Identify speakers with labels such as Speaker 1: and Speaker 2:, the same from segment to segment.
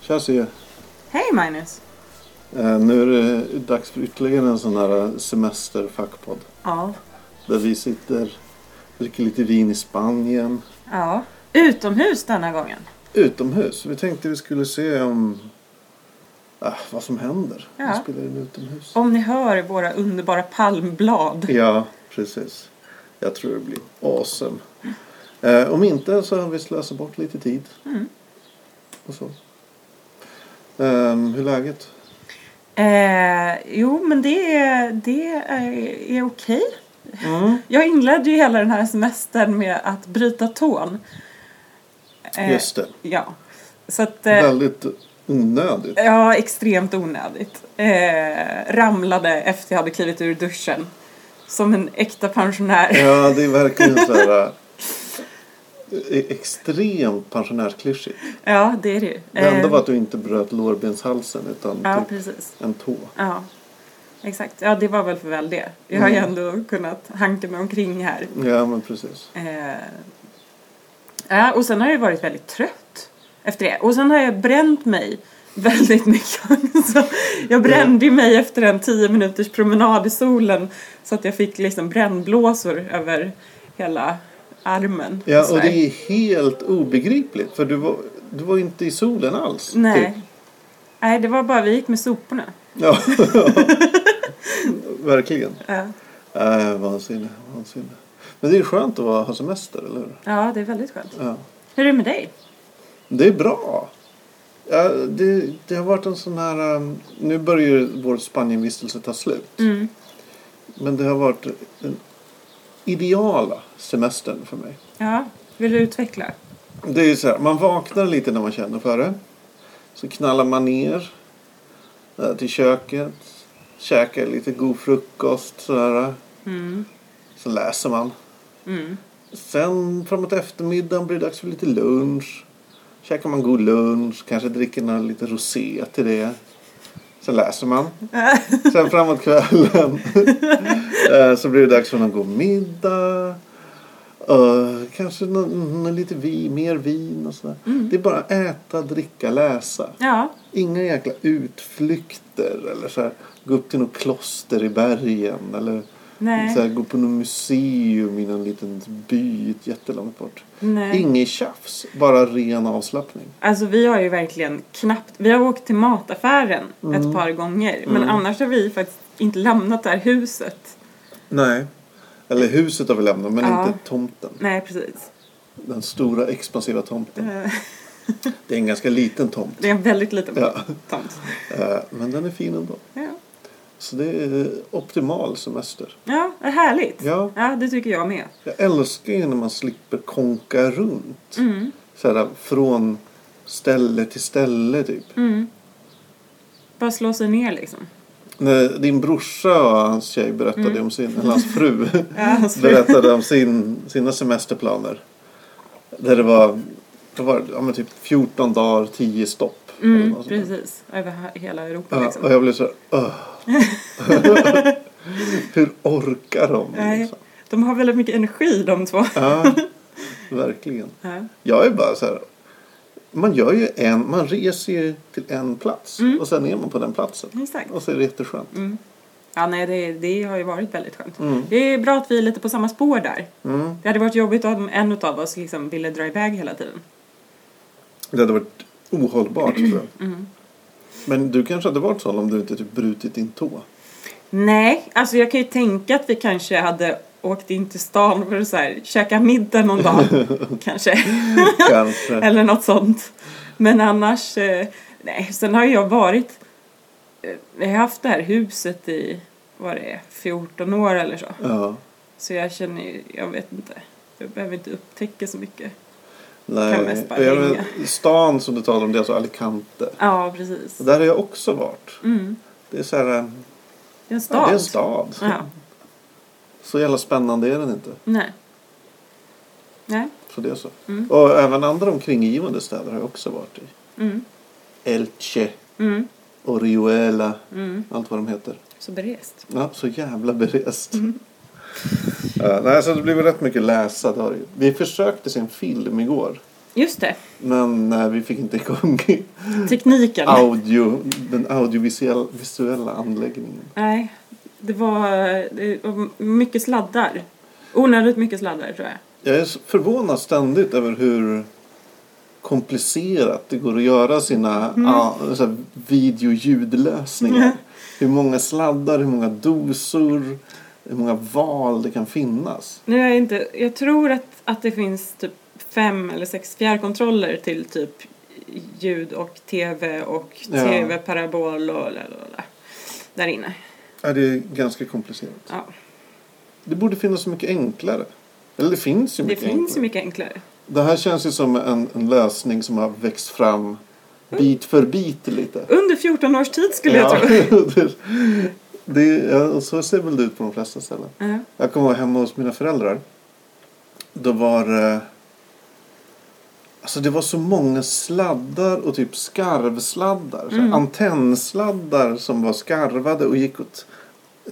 Speaker 1: Tja Sy!
Speaker 2: Hej Magnus!
Speaker 1: Eh, Nu är det dags för ytterligare en sån här eh, semesterfackpodd.
Speaker 2: Ja.
Speaker 1: Där vi sitter, dricker lite vin i Spanien.
Speaker 2: ja. Utomhus denna gången.
Speaker 1: Utomhus. Vi tänkte vi skulle se om ah, vad som händer.
Speaker 2: Ja.
Speaker 1: Vi spelar in utomhus.
Speaker 2: Om ni hör våra underbara palmblad.
Speaker 1: Ja, precis. Jag tror det blir awesome. Eh, om inte så har vi slösat bort lite tid.
Speaker 2: Mm.
Speaker 1: Och så. Ehm, hur är läget?
Speaker 2: Eh, jo, men det, är- det är, är okej.
Speaker 1: Mm.
Speaker 2: Jag inledde ju hela den här semestern med att bryta tån. Eh,
Speaker 1: Just det.
Speaker 2: Ja. Så att... eh,
Speaker 1: Väldigt onödigt.
Speaker 2: Ja, extremt onödigt. Eh, ramlade efter jag hade klivit ur duschen. Som en äkta pensionär.
Speaker 1: Ja, det är verkligen så här eh, e- extremt pensionärsklyschigt.
Speaker 2: Ja, det är det ju.
Speaker 1: Det enda
Speaker 2: Eh,
Speaker 1: var att du inte bröt lårbenshalsen utan
Speaker 2: Ja,
Speaker 1: typ
Speaker 2: precis.
Speaker 1: en tå.
Speaker 2: Ja, exakt. Ja, det var väl för väl det. Jag har ju
Speaker 1: Mm.
Speaker 2: ändå kunnat hanka mig omkring här.
Speaker 1: Ja, men precis.
Speaker 2: Eh, ja, och sen har jag ju varit väldigt trött efter det. Och sen har jag bränt mig väldigt mycket. Så jag brände ju mig efter en 10 minuters promenad i solen så att jag fick liksom brännblåsor över hela armen.
Speaker 1: Ja,
Speaker 2: så
Speaker 1: och
Speaker 2: här.
Speaker 1: det är helt obegripligt för du var, du var inte i solen alls.
Speaker 2: Nej.
Speaker 1: Typ.
Speaker 2: Nej, det var bara vi gick med soporna.
Speaker 1: Ja. verkligen.
Speaker 2: Ja.
Speaker 1: Äh, vansinne, vansinne. Men det är skönt att vara, ha semester, eller hur?
Speaker 2: ja, det är väldigt skönt.
Speaker 1: Ja.
Speaker 2: Hur är det med dig?
Speaker 1: Det är bra. Ja, det, det har varit en sån här... um, Nu börjar ju vår Spanienvistelse ta slut.
Speaker 2: Mm.
Speaker 1: Men det har varit den ideala semestern för mig.
Speaker 2: Ja, vill du utveckla?
Speaker 1: Det är ju så här, man vaknar lite när man känner för det. Så knallar man ner eh, till köket. Käkar lite god frukost sådär.
Speaker 2: Mm.
Speaker 1: Så läser man.
Speaker 2: Mm.
Speaker 1: Sen framåt eftermiddagen blir det dags för lite lunch. Käkar man god lunch, kanske dricker någon lite rosé till det. Sen läser man. Sen framåt kvällen eh, så blir det dags för någon god middag. Eh, kanske någon, någon lite vin, mer vin och sådär. Det är bara äta, dricka, läsa.
Speaker 2: Ja,
Speaker 1: Inga jäkla utflykter eller så här, gå upp till något kloster i bergen eller
Speaker 2: nej.
Speaker 1: så här, gå på något museum i någon liten by jättelångt bort.
Speaker 2: nej.
Speaker 1: Inget tjafs, bara ren avslappning.
Speaker 2: Alltså vi har ju verkligen knappt, vi har åkt till mataffären ett
Speaker 1: Mm.
Speaker 2: par gånger men annars har vi faktiskt inte lämnat det här huset.
Speaker 1: Nej. Eller huset har vi lämnat men
Speaker 2: Ja.
Speaker 1: inte tomten.
Speaker 2: Nej precis.
Speaker 1: Den stora expansiva tomten.
Speaker 2: Eh,
Speaker 1: Det är en ganska liten tomt.
Speaker 2: Det är en väldigt liten
Speaker 1: Ja.
Speaker 2: tomt.
Speaker 1: Eh, Men den är fin ändå.
Speaker 2: Ja.
Speaker 1: Så det är eh, optimal semester.
Speaker 2: ja, vad härligt.
Speaker 1: Ja.
Speaker 2: det tycker jag med.
Speaker 1: Jag älskar ju när man slipper konka runt.
Speaker 2: Mm.
Speaker 1: Så här, från ställe till ställe typ.
Speaker 2: Mm. Bara slå sig ner liksom.
Speaker 1: När din brorsa och hans tjej berättade
Speaker 2: Mm.
Speaker 1: om sin, eller hans fru
Speaker 2: Ja, Alltså. hans fru.
Speaker 1: berättade om sin, sina semesterplaner. Där det var, det var det? ja, men typ 14 dagar, 10 stopp. eller
Speaker 2: Mm,
Speaker 1: något sånt där.
Speaker 2: precis, över he- hela Europa
Speaker 1: alltså. Ja,
Speaker 2: liksom.
Speaker 1: och jag blev så här, "Åh." Hur orkar de?
Speaker 2: Nej,
Speaker 1: liksom?
Speaker 2: de har väldigt mycket energi de två.
Speaker 1: Ja, verkligen.
Speaker 2: Ja.
Speaker 1: Jag är bara så här. Man gör ju en, man reser ju till en plats
Speaker 2: Mm.
Speaker 1: och sen är man på den platsen.
Speaker 2: Exakt. Mm.
Speaker 1: Och så är det jätteskönt.
Speaker 2: Ja, nej, det, det har ju varit väldigt skönt.
Speaker 1: Mm.
Speaker 2: Det är bra att vi är lite på samma spår där.
Speaker 1: Mm.
Speaker 2: Det hade varit jobbigt om en av oss liksom ville dra iväg hela tiden.
Speaker 1: Det hade varit ohållbart tror jag.
Speaker 2: Mm.
Speaker 1: Men du kanske hade varit sån om du inte typ brutit din tå.
Speaker 2: Nej, alltså jag kan ju tänka att vi kanske hade åkt in till stan för att så här, käka middag någon dag. kanske.
Speaker 1: Kanske.
Speaker 2: Eller något sånt. Men annars, eh, nej. Sen har ju jag varit, eh, jag har haft det här huset i, vad det är, 14 år eller så.
Speaker 1: Ja.
Speaker 2: Så jag känner ju, jag vet inte. Jag behöver inte upptäcka så mycket. Kan
Speaker 1: Nej.
Speaker 2: mest bara
Speaker 1: Jag
Speaker 2: hänga.
Speaker 1: vet, stan som du talar om det är alltså Alicante.
Speaker 2: Ja, precis.
Speaker 1: Och där har jag också varit.
Speaker 2: Mm.
Speaker 1: Det är så här, eh,
Speaker 2: Det är en stad.
Speaker 1: ja, det är en stad.
Speaker 2: Ja.
Speaker 1: Så jävla spännande är den inte.
Speaker 2: Nej. Nej.
Speaker 1: Så det är så.
Speaker 2: Mm.
Speaker 1: Och även andra omkringgivande städer har jag också varit i.
Speaker 2: Mm.
Speaker 1: Elche,
Speaker 2: Mm.
Speaker 1: Orihuela,
Speaker 2: Mm.
Speaker 1: allt vad de heter.
Speaker 2: Så berest.
Speaker 1: Ja, så jävla berest.
Speaker 2: Mm.
Speaker 1: Eh, nej, så det blev rätt mycket läsa. Det har det ju. Vi försökte se en film igår
Speaker 2: Just det.
Speaker 1: Men nej, vi fick inte igång
Speaker 2: Tekniken.
Speaker 1: audio, den audiovisuella visuella anläggningen.
Speaker 2: Nej, det var, det var mycket sladdar. Onödigt mycket sladdar tror jag.
Speaker 1: Jag är så förvånad ständigt över hur komplicerat det går att göra sina
Speaker 2: Mm.
Speaker 1: ja, så här, videoljudlösningar. Hur många sladdar, hur många dosor, hur många val det kan finnas.
Speaker 2: Nu är jag inte, jag tror att, att det finns typ fem eller sex fjärrkontroller till typ ljud och tv och
Speaker 1: Ja.
Speaker 2: tv-parabol och lalala. Där inne.
Speaker 1: Ja, det är ganska komplicerat.
Speaker 2: Ja,
Speaker 1: Det borde finnas så mycket enklare. Eller det finns ju
Speaker 2: det
Speaker 1: mycket
Speaker 2: finns
Speaker 1: enklare.
Speaker 2: ju mycket enklare.
Speaker 1: Det här känns ju som en, en lösning som har växt fram bit för bit lite.
Speaker 2: Under 14 års tid skulle jag tro.
Speaker 1: det, det, ja, och så ser väl det ut på de flesta ställen.
Speaker 2: Ja.
Speaker 1: Jag kommer ihåg hemma hos mina föräldrar. Då var det... Alltså det var så många sladdar och typ skarvsladdar.
Speaker 2: Mm.
Speaker 1: så här Antennsladdar som var skarvade och gick åt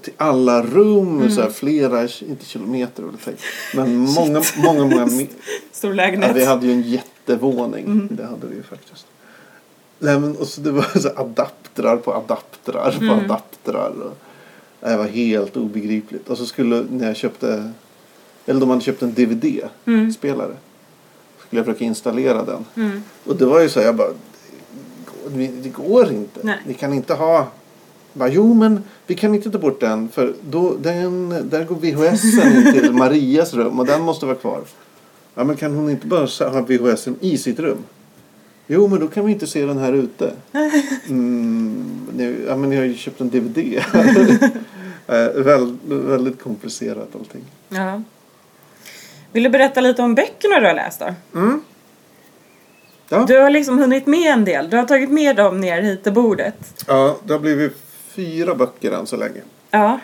Speaker 1: till alla rum. Så
Speaker 2: Mm.
Speaker 1: här, flera, inte kilometer vill jag tänka, men många, många, många, me-
Speaker 2: Stor
Speaker 1: Ja,
Speaker 2: lägenhet.
Speaker 1: vi hade ju en jättevåning. Det hade vi ju faktiskt. Nej, men, och så det var så här adaptrar på adaptrar på adaptrar. Och, nej, det var helt obegripligt. Och så skulle, när jag köpte, eller de hade köpt en DVD-spelare. Skulle jag försöka installera den. Och det var ju så här, jag bara, det går, det går inte.
Speaker 2: Nej.
Speaker 1: Ni kan inte ha bara, jo men vi kan inte ta bort den för då, den, där går VHSen in till Marias rum och den måste vara kvar. Ja men kan hon inte bara sa- ha VHSen i sitt rum? Jo men då kan vi inte se den här ute. Mm, nu, ja men jag har ju köpt en DVD. Eh, Väl, väldigt komplicerat allting.
Speaker 2: Ja. Vill du berätta lite om böckerna du har läst då?
Speaker 1: Ja.
Speaker 2: Du har liksom hunnit med en del. Du har tagit med dem ner hit till bordet.
Speaker 1: ja, det har blivit fyra böcker än så länge.
Speaker 2: Ja.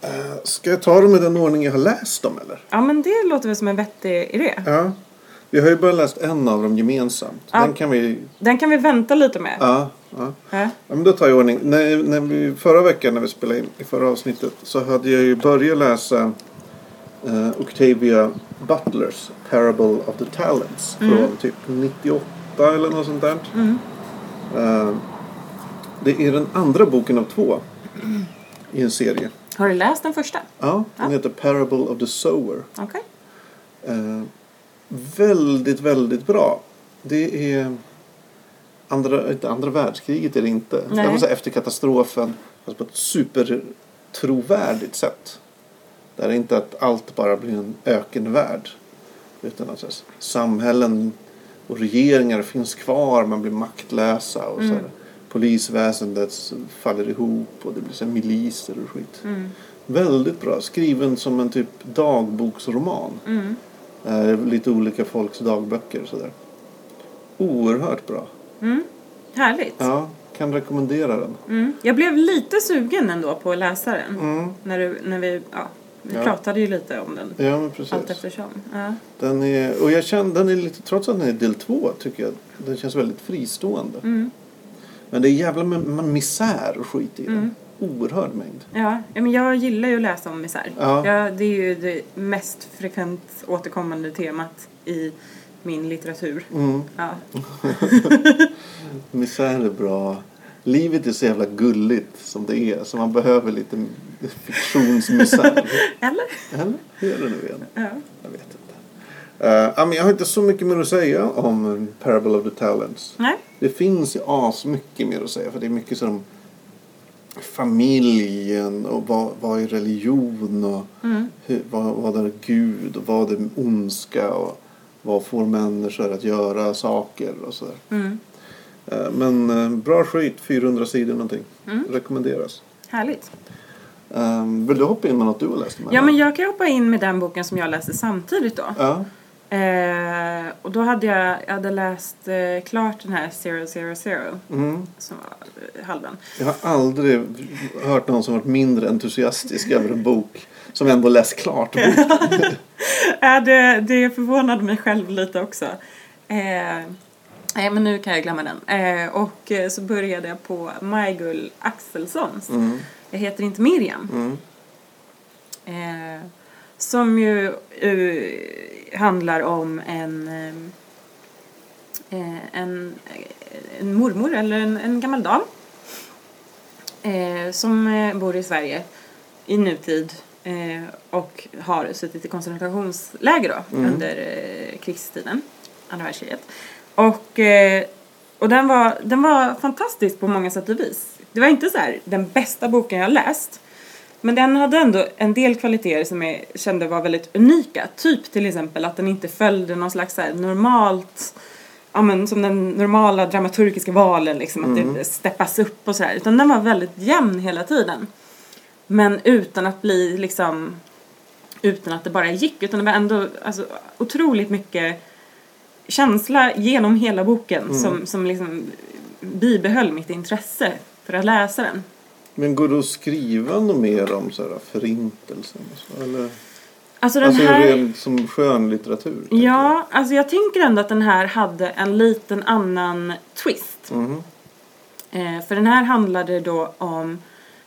Speaker 1: Eh, Ska jag ta dem i den ordning jag har läst dem eller?
Speaker 2: Ja men det låter väl som en vettig idé.
Speaker 1: Ja. Vi har ju bara läst en av dem gemensamt.
Speaker 2: Ja.
Speaker 1: Den kan vi...
Speaker 2: Den kan vi vänta lite med.
Speaker 1: Ja, ja.
Speaker 2: Ja.
Speaker 1: Ja, men då tar jag i ordning. När, när vi, förra veckan när vi spelade in i förra avsnittet så hade jag ju börjat läsa eh, Octavia Butlers Parable of the Talents från typ 98 eller något sånt där. Eh, det är den andra boken av två i en serie.
Speaker 2: Har du läst den första?
Speaker 1: Ja, den heter Parable of the Sower.
Speaker 2: Okej.
Speaker 1: Eh, väldigt, väldigt bra. Det är andra, inte andra världskriget är det inte.
Speaker 2: Nej.
Speaker 1: Det var så här efter katastrofen, fast på ett supertrovärdigt sätt. Där det inte att allt bara blir en ökenvärld. Utan att så här, samhällen och regeringar finns kvar, man blir maktlösa och så här, polisväsendet faller ihop och det blir så här miliser och skit. Väldigt bra, skriven som en typ dagboksroman. Eh, lite olika folks dagböcker och sådär. Oerhört bra.
Speaker 2: Mm. Härligt.
Speaker 1: Ja, kan rekommendera den.
Speaker 2: Mm. Jag blev lite sugen ändå på att läsa den. När, du, när vi, ja, vi
Speaker 1: Mm. Ja.
Speaker 2: pratade ju lite om den.
Speaker 1: Ja, men precis.
Speaker 2: Allt eftersom. Ja.
Speaker 1: Den är, och jag känner, den är lite, trots att den är del två tycker jag, den känns väldigt fristående. Men det är jävla med, med misär och skit i den. Oerhörd mängd.
Speaker 2: Ja, ja, men jag gillar ju att läsa om misär.
Speaker 1: Ja.
Speaker 2: Ja, det är ju det mest frekvent återkommande temat i min litteratur.
Speaker 1: Mm.
Speaker 2: Ja.
Speaker 1: Misär är bra. Livet är så jävla gulligt som det är, så man behöver lite fiktionsmisär.
Speaker 2: Eller?
Speaker 1: Eller? Hur är det nu igen?
Speaker 2: Ja.
Speaker 1: Jag vet inte. Eh, ja, men jag har inte så mycket mer att säga om eh, Parable of the Talents.
Speaker 2: Nej.
Speaker 1: Det finns ju asmycket mer att säga för det är mycket som familjen och vad, vad är religion och
Speaker 2: Mm.
Speaker 1: hur, vad, vad är Gud och vad är ondska och vad får människor att göra saker och sådär.
Speaker 2: Mm.
Speaker 1: Eh, Men eh, bra skit, 400 sidor någonting.
Speaker 2: Mm.
Speaker 1: Rekommenderas.
Speaker 2: Härligt.
Speaker 1: Eh, Vill du hoppa in med något du har läst?
Speaker 2: Ja, men jag kan hoppa in med den boken som jag läste samtidigt då.
Speaker 1: Ja.
Speaker 2: Eh, och då hade jag, jag hade läst eh, klart den här 000
Speaker 1: Mm.
Speaker 2: som var eh, halvan.
Speaker 1: Jag har aldrig hört någon som varit mindre entusiastisk över en bok som ändå läst klart boken.
Speaker 2: Äh, det, det förvånade mig själv lite också. Eh, nej, men nu kan jag glömma den. Eh, och eh, så började jag på Majgull Axelssons. Jag heter inte Miriam. Eh, som ju eh, handlar om en eh, eh, en, eh, en mormor eller en, en gammal dam eh, som eh, bor i Sverige i nutid eh, och har suttit i koncentrationsläger då
Speaker 1: Mm.
Speaker 2: under eh, krigstiden, andra världskriget. Och, eh, och den, var, den var fantastisk på många sätt och vis. Det var inte så här den bästa boken jag läst men den hade ändå en del kvaliteter som jag kände var väldigt unika. Typ till exempel att den inte följde någon slags så här normalt ja, men, som den normala dramaturgiska valen, liksom, att det steppas upp och sådär. Utan den var väldigt jämn hela tiden. Men utan att bli liksom, utan att det bara gick. Utan det var ändå alltså, otroligt mycket känsla genom hela boken som, som liksom bibehöll mitt intresse för att läsa den.
Speaker 1: Men går det att skriva något mer om så här, förintelsen? Och så, eller?
Speaker 2: Alltså den
Speaker 1: Alltså
Speaker 2: här...
Speaker 1: ren, som skönlitteratur? tänker
Speaker 2: Ja, alltså jag tänker ändå att den här hade en liten annan twist.
Speaker 1: jag. Mhm.
Speaker 2: Eh, för den här handlade då om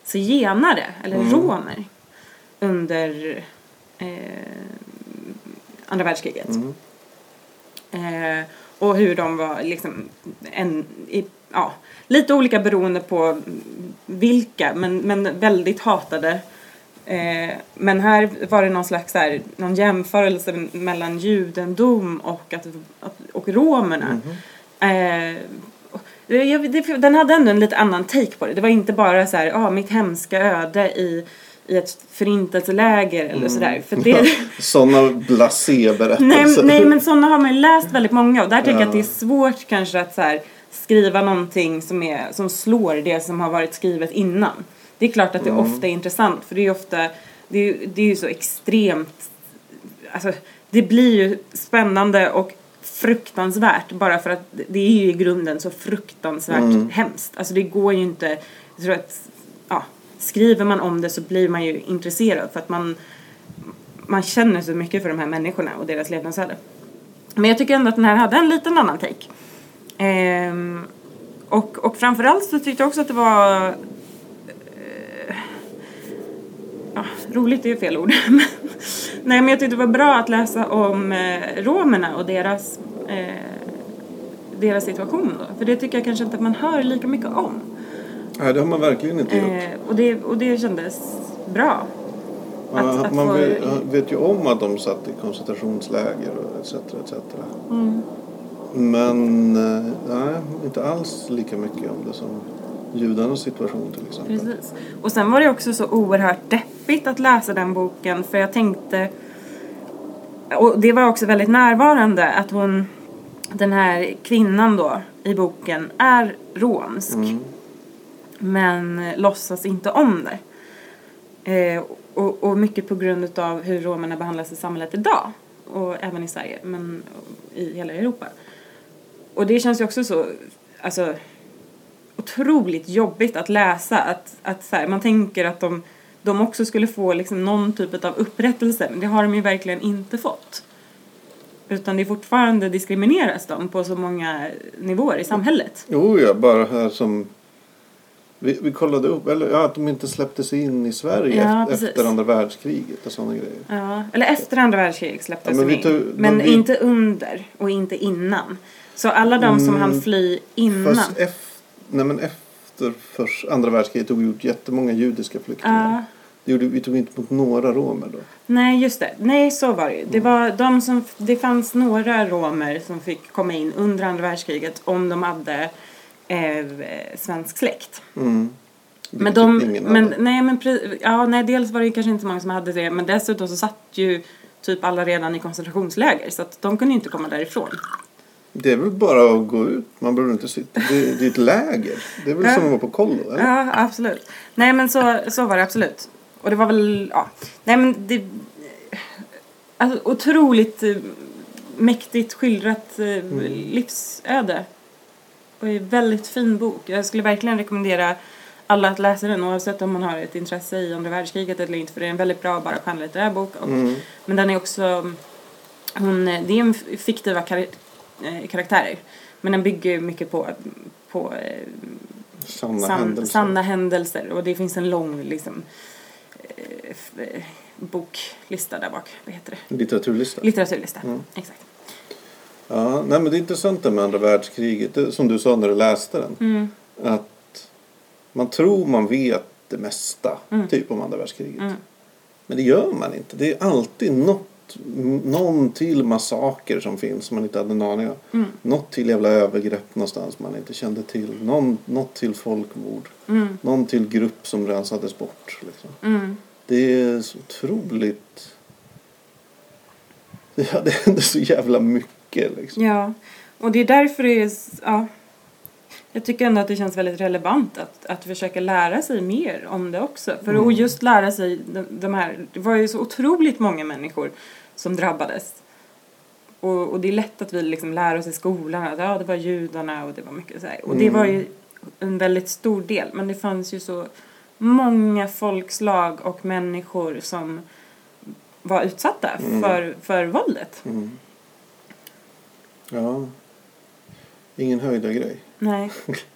Speaker 2: zigenare, eller romer, under eh, andra världskriget.
Speaker 1: Mm.
Speaker 2: Eh, och hur de var liksom en, i, ja, lite olika beroende på vilka, men, men väldigt hatade. Eh, men här var det någon slags så här, någon jämförelse mellan judendom och, att, att, och romerna.
Speaker 1: mm-hmm.
Speaker 2: Eh, det- jag, det, den hade ändå en lite annan take på det. Det var inte bara så här, ah, mitt hemska öde i, i ett förintelseläger eller sådär. För det,
Speaker 1: Sådana blasé-berättelser.
Speaker 2: Nej, nej men sådana har man ju läst väldigt många och där tycker jag
Speaker 1: Ja.
Speaker 2: att det är svårt kanske att så här, skriva någonting som, är, som slår det som har varit skrivet innan. Det är klart att det ofta är intressant för det är ju ofta, det är, ju- det är ju så extremt, alltså det blir ju spännande och fruktansvärt bara för att det- det är ju i grunden så fruktansvärt hemskt. Alltså det går ju inte, jag tror att, ja, skriver man om det så blir man ju intresserad för att man man känner så mycket för de här människorna och deras levnadsöde. Men jag tycker ändå att den här hade en liten annan take. Ehm, och, och framförallt så tyckte jag också att det var... eh, ja, roligt är ju fel ord. Men- Nej, men jag tyckte det var bra att läsa om eh, romerna och deras, eh, deras situation. Då. För det tycker jag kanske inte att man hör lika mycket om.
Speaker 1: Nej, det har man verkligen inte gjort.
Speaker 2: Eh, och, det, och det kändes bra.
Speaker 1: Man,
Speaker 2: att- att
Speaker 1: man
Speaker 2: få-
Speaker 1: vet, vet ju om att de satt i koncentrationsläger och etc. etc.
Speaker 2: Mm.
Speaker 1: Men eh, nej, inte alls lika mycket om det som judarnas situation till exempel.
Speaker 2: Precis. Och sen var det också så oerhört deppigt att läsa den boken för jag tänkte och det var också väldigt närvarande att hon den här kvinnan då i boken är romsk men låtsas inte om det. Eh, och, och mycket på grund utav hur romerna behandlas i samhället idag och även i Sverige men i hela Europa. Och det känns ju också så alltså otroligt jobbigt att läsa. Att, att så här, man tänker att de, de också skulle få liksom någon typ av upprättelse, men det har de ju verkligen inte fått. Utan det är fortfarande diskrimineras de på så många nivåer i samhället.
Speaker 1: Jo, ja, bara här som... Vi, vi kollade upp, eller ja, att de inte släpptes in i Sverige
Speaker 2: Ja,
Speaker 1: efter,
Speaker 2: precis.
Speaker 1: efter andra världskriget och sådana grejer.
Speaker 2: Ja, eller efter andra världskriget släpptes
Speaker 1: Ja, men
Speaker 2: de
Speaker 1: vi
Speaker 2: in.
Speaker 1: tar-
Speaker 2: men
Speaker 1: men vi-
Speaker 2: inte under och inte innan. Så alla de som
Speaker 1: Mm,
Speaker 2: hann fly innan.
Speaker 1: Fast ef, nej, men efter först, andra världskriget tog vi ut jättemånga judiska flyktingar.
Speaker 2: Ja.
Speaker 1: Det gjorde, vi tog inte emot några romer då.
Speaker 2: Nej, just det. Nej, så var det ju. Det, var de som, det fanns några romer som fick komma in under andra världskriget om de hade eh, svensk släkt.
Speaker 1: Mm.
Speaker 2: Men
Speaker 1: Vilket
Speaker 2: de,
Speaker 1: typ ingen
Speaker 2: men,
Speaker 1: hade.
Speaker 2: nej, men, pre- ja, nej, dels var det ju kanske inte så många som hade det, men dessutom så satt ju typ alla redan i koncentrationsläger så att de kunde ju inte komma därifrån.
Speaker 1: Det är väl bara att gå ut. Man behöver inte sitta. Det, det är ett läger. Det är väl som att vara på kollo? Eller?
Speaker 2: Ja, absolut. Nej, men så, så var det absolut. Och det var väl, ja. Nej, men det... Alltså, otroligt eh, mäktigt skildrat eh, livsöde. Och en väldigt fin bok. Jag skulle verkligen rekommendera alla att läsa den oavsett om man har ett intresse i andra världskriget eller inte. För det är en väldigt bra bara skönlitterär bok. Och, Men den är också... Hon, eh, det är en f- fiktiva kar- eh, karaktärer. Men den bygger ju mycket på, på eh,
Speaker 1: Sanna
Speaker 2: San-
Speaker 1: händelser.
Speaker 2: sanna händelser. Och det finns en lång liksom, eh, f- eh, boklista där bak. Vad heter det?
Speaker 1: Litteraturlista.
Speaker 2: Litteraturlista. Exakt.
Speaker 1: Ja, nej, men det är intressant det med andra världskriget. Det, som du sa när du läste den.
Speaker 2: Mm.
Speaker 1: Att man tror man vet det mesta. Typ om andra världskriget.
Speaker 2: Mm.
Speaker 1: Men det gör man inte. Det är alltid något, m- någon till massaker som finns som man inte hade en aning om.
Speaker 2: Mm.
Speaker 1: Något till jävla övergrepp någonstans man inte kände till. Någon, något till folkmord.
Speaker 2: Mm.
Speaker 1: Någon till grupp som rensades bort. Liksom.
Speaker 2: Mm.
Speaker 1: Det är så otroligt... Ja, det händer så jävla mycket liksom.
Speaker 2: Ja, och det är därför det är... s- Ja, jag tycker ändå att det känns väldigt relevant att, att försöka lära sig mer om det också. För
Speaker 1: Mm.
Speaker 2: att just lära sig de, de här... Det var ju så otroligt många människor som drabbades. Och, och det är lätt att vi liksom lär oss i skolan att ja, det var judarna och det var mycket så här. Och det
Speaker 1: Mm.
Speaker 2: var ju en väldigt stor del, men det fanns ju så många folkslag och människor som var utsatta
Speaker 1: Mm.
Speaker 2: för, för våldet.
Speaker 1: Mm. Ja. Ingen höjda grej.
Speaker 2: Nej,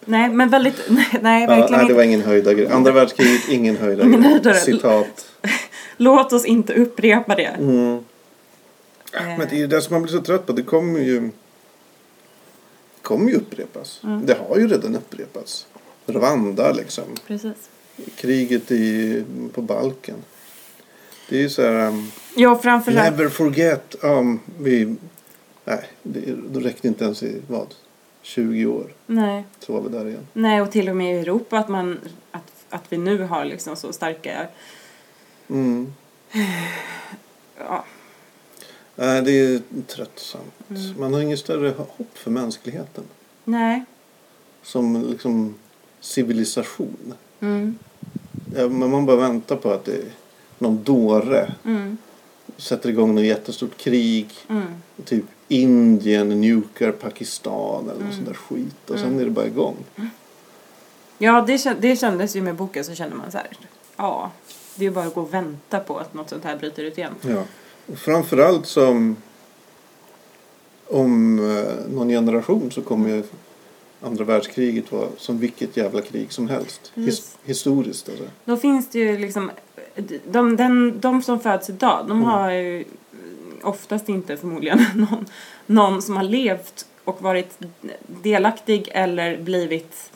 Speaker 2: nej men väldigt... Nej, nej
Speaker 1: Ja,
Speaker 2: verkligen
Speaker 1: nej, det
Speaker 2: inte.
Speaker 1: var ingen höjda grej. Andra världskriget, ingen höjda
Speaker 2: Ingen
Speaker 1: grej.
Speaker 2: höjdare.
Speaker 1: Citat.
Speaker 2: Låt oss inte upprepa det.
Speaker 1: Mm.
Speaker 2: Eh,
Speaker 1: Ah, Men det är ju det som man blir så trött på. Det kommer ju, kommer ju upprepas.
Speaker 2: Mm.
Speaker 1: Det har ju redan upprepats. Rwanda liksom.
Speaker 2: Precis.
Speaker 1: Kriget i, på Balkan. Det är ju så här... Um,
Speaker 2: Ja, framförallt...
Speaker 1: never forget. Um, vi, nej, det, då räckte inte ens i vad? 20 år.
Speaker 2: Nej.
Speaker 1: Så var vi där igen.
Speaker 2: nej, och till och med i Europa att, man, att, att vi nu har liksom så starka...
Speaker 1: Mm.
Speaker 2: Ja,
Speaker 1: Nej, det är tröttsamt. Man har ingen större hopp för mänskligheten.
Speaker 2: nej.
Speaker 1: Som liksom civilisation.
Speaker 2: Mm,
Speaker 1: Ja, men man bara väntar på att det någon dåre
Speaker 2: mm,
Speaker 1: sätter igång något jättestort krig.
Speaker 2: mm.
Speaker 1: Typ Indien nukar Pakistan eller någon sån där skit. Och sen är det bara igång.
Speaker 2: Ja, det, kän- det kändes ju med boken så kände man så här... Ja, det är ju bara att gå och vänta på att något sånt här bryter ut igen.
Speaker 1: Ja. Och framförallt som om eh, någon generation så kommer ju andra världskriget vara som vilket jävla krig som helst. His-
Speaker 2: Yes.
Speaker 1: historiskt alltså.
Speaker 2: Då finns det ju liksom... De, den, de som föds idag,
Speaker 1: Mm.
Speaker 2: de har ju oftast inte förmodligen någon, någon som har levt och varit delaktig eller blivit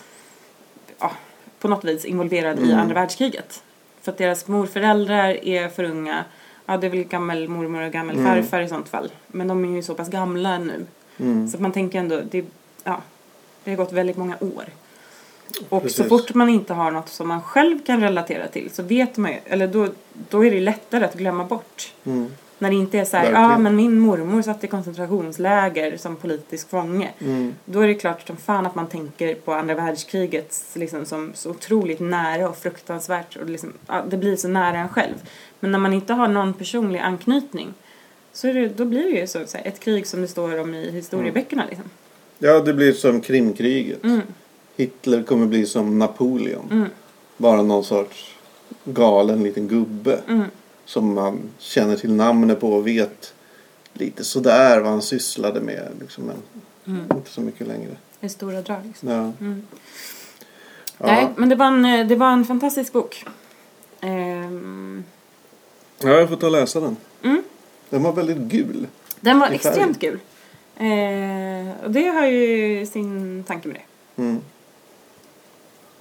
Speaker 2: ja, på något vis involverad i
Speaker 1: Mm.
Speaker 2: andra världskriget. För att deras morföräldrar är för unga. Ja, det är väl gammal mormor och gammal
Speaker 1: Mm.
Speaker 2: farfar i sånt fall. Men de är ju så pass gamla nu.
Speaker 1: Mm.
Speaker 2: Så att man tänker ändå, det, ja, det har gått väldigt många år. Och så
Speaker 1: Precis.
Speaker 2: fort man inte har något som man själv kan relatera till så vet man ju, eller då, då är det ju lättare att glömma bort.
Speaker 1: Mm.
Speaker 2: När det inte är så här, ja
Speaker 1: Verkligen.
Speaker 2: ah, men min mormor satt i koncentrationsläger som politisk fånge.
Speaker 1: Mm.
Speaker 2: Då är det klart som fan att man tänker på andra världskriget liksom, som så otroligt nära och fruktansvärt. Och liksom, ja, det blir så nära en själv. Men när man inte har någon personlig anknytning så är det, då blir det ju så, att säga, ett krig som det står om i historieböckerna.
Speaker 1: Mm.
Speaker 2: Liksom.
Speaker 1: Ja, det blir som Krimkriget.
Speaker 2: Mm,
Speaker 1: Hitler kommer bli som Napoleon.
Speaker 2: mm,
Speaker 1: Bara någon sorts galen liten gubbe
Speaker 2: mm,
Speaker 1: som man känner till namnet på och vet lite sådär vad han sysslade med. Liksom, men
Speaker 2: mm.
Speaker 1: inte så mycket längre.
Speaker 2: I stora drag. Liksom.
Speaker 1: Ja.
Speaker 2: Mm.
Speaker 1: Ja.
Speaker 2: Nej, men det var en, eh, det var en fantastisk bok. Ehm,
Speaker 1: ja, jag får ta och läsa den.
Speaker 2: Mm.
Speaker 1: Den var väldigt gul.
Speaker 2: den var
Speaker 1: I färg.
Speaker 2: extremt kul. Ehm, och det har ju sin tanke med det.
Speaker 1: Mm.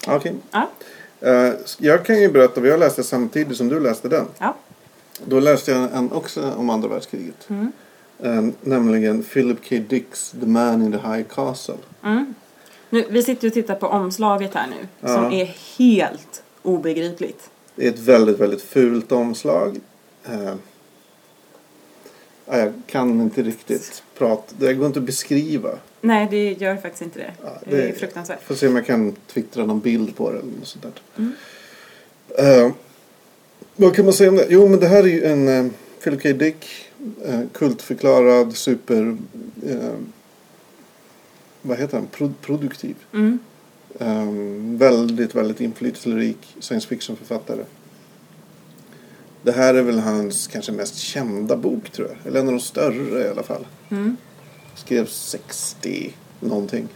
Speaker 1: Okej.
Speaker 2: Ja,
Speaker 1: Eh, jag kan ju berätta vad jag läste samtidigt som du läste den.
Speaker 2: ja.
Speaker 1: Då läste jag en också om andra världskriget.
Speaker 2: Mm.
Speaker 1: Eh, nämligen Philip K. Dicks The Man in the High Castle.
Speaker 2: Mm. Nu, vi sitter ju och tittar på omslaget här nu,
Speaker 1: Ja.
Speaker 2: som är helt obegripligt.
Speaker 1: Det är ett väldigt, väldigt fult omslag. Eh, ja, jag kan inte riktigt prata. Det går inte att beskriva.
Speaker 2: Nej, det gör faktiskt inte det.
Speaker 1: Ja,
Speaker 2: det, är fruktansvärt.
Speaker 1: Får se om jag kan twittra någon bild på det eller något sånt där.
Speaker 2: Mm.
Speaker 1: Eh, vad kan man säga om det? Jo, men det här är ju en eh, Philip K. Dick, eh, kultförklarad, super... Eh, vad heter han? Pro- produktiv.
Speaker 2: Mm.
Speaker 1: Eh, väldigt, väldigt inflytelserik science fiction-författare. Det här är väl hans kanske mest kända bok, tror jag. Eller en av de större i alla fall
Speaker 2: Mm.
Speaker 1: skrev 60 någonting.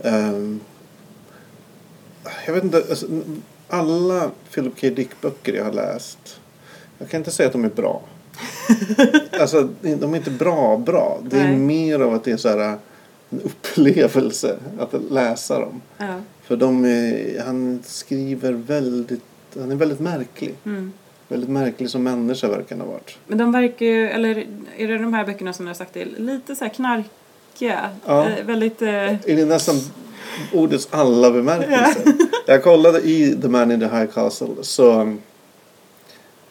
Speaker 1: Ehm, jag vet inte, alltså, n- alla Philip K. Dick-böcker jag har läst, jag kan inte säga att de är bra. alltså, de är inte bra bra. Det är
Speaker 2: Nej.
Speaker 1: mer av att det är så här, en upplevelse att läsa dem.
Speaker 2: Ja.
Speaker 1: För de är, han skriver väldigt, han är väldigt märklig.
Speaker 2: Mm.
Speaker 1: Väldigt märklig som människa verkar han ha varit.
Speaker 2: Men de verkar ju, eller är det de här böckerna som jag har sagt till, lite så här knarkiga.
Speaker 1: Ja.
Speaker 2: Eh, väldigt... Eh,
Speaker 1: Är det nästan ordets alla bemärkelser? Jag kollade i The Man in the High Castle så um,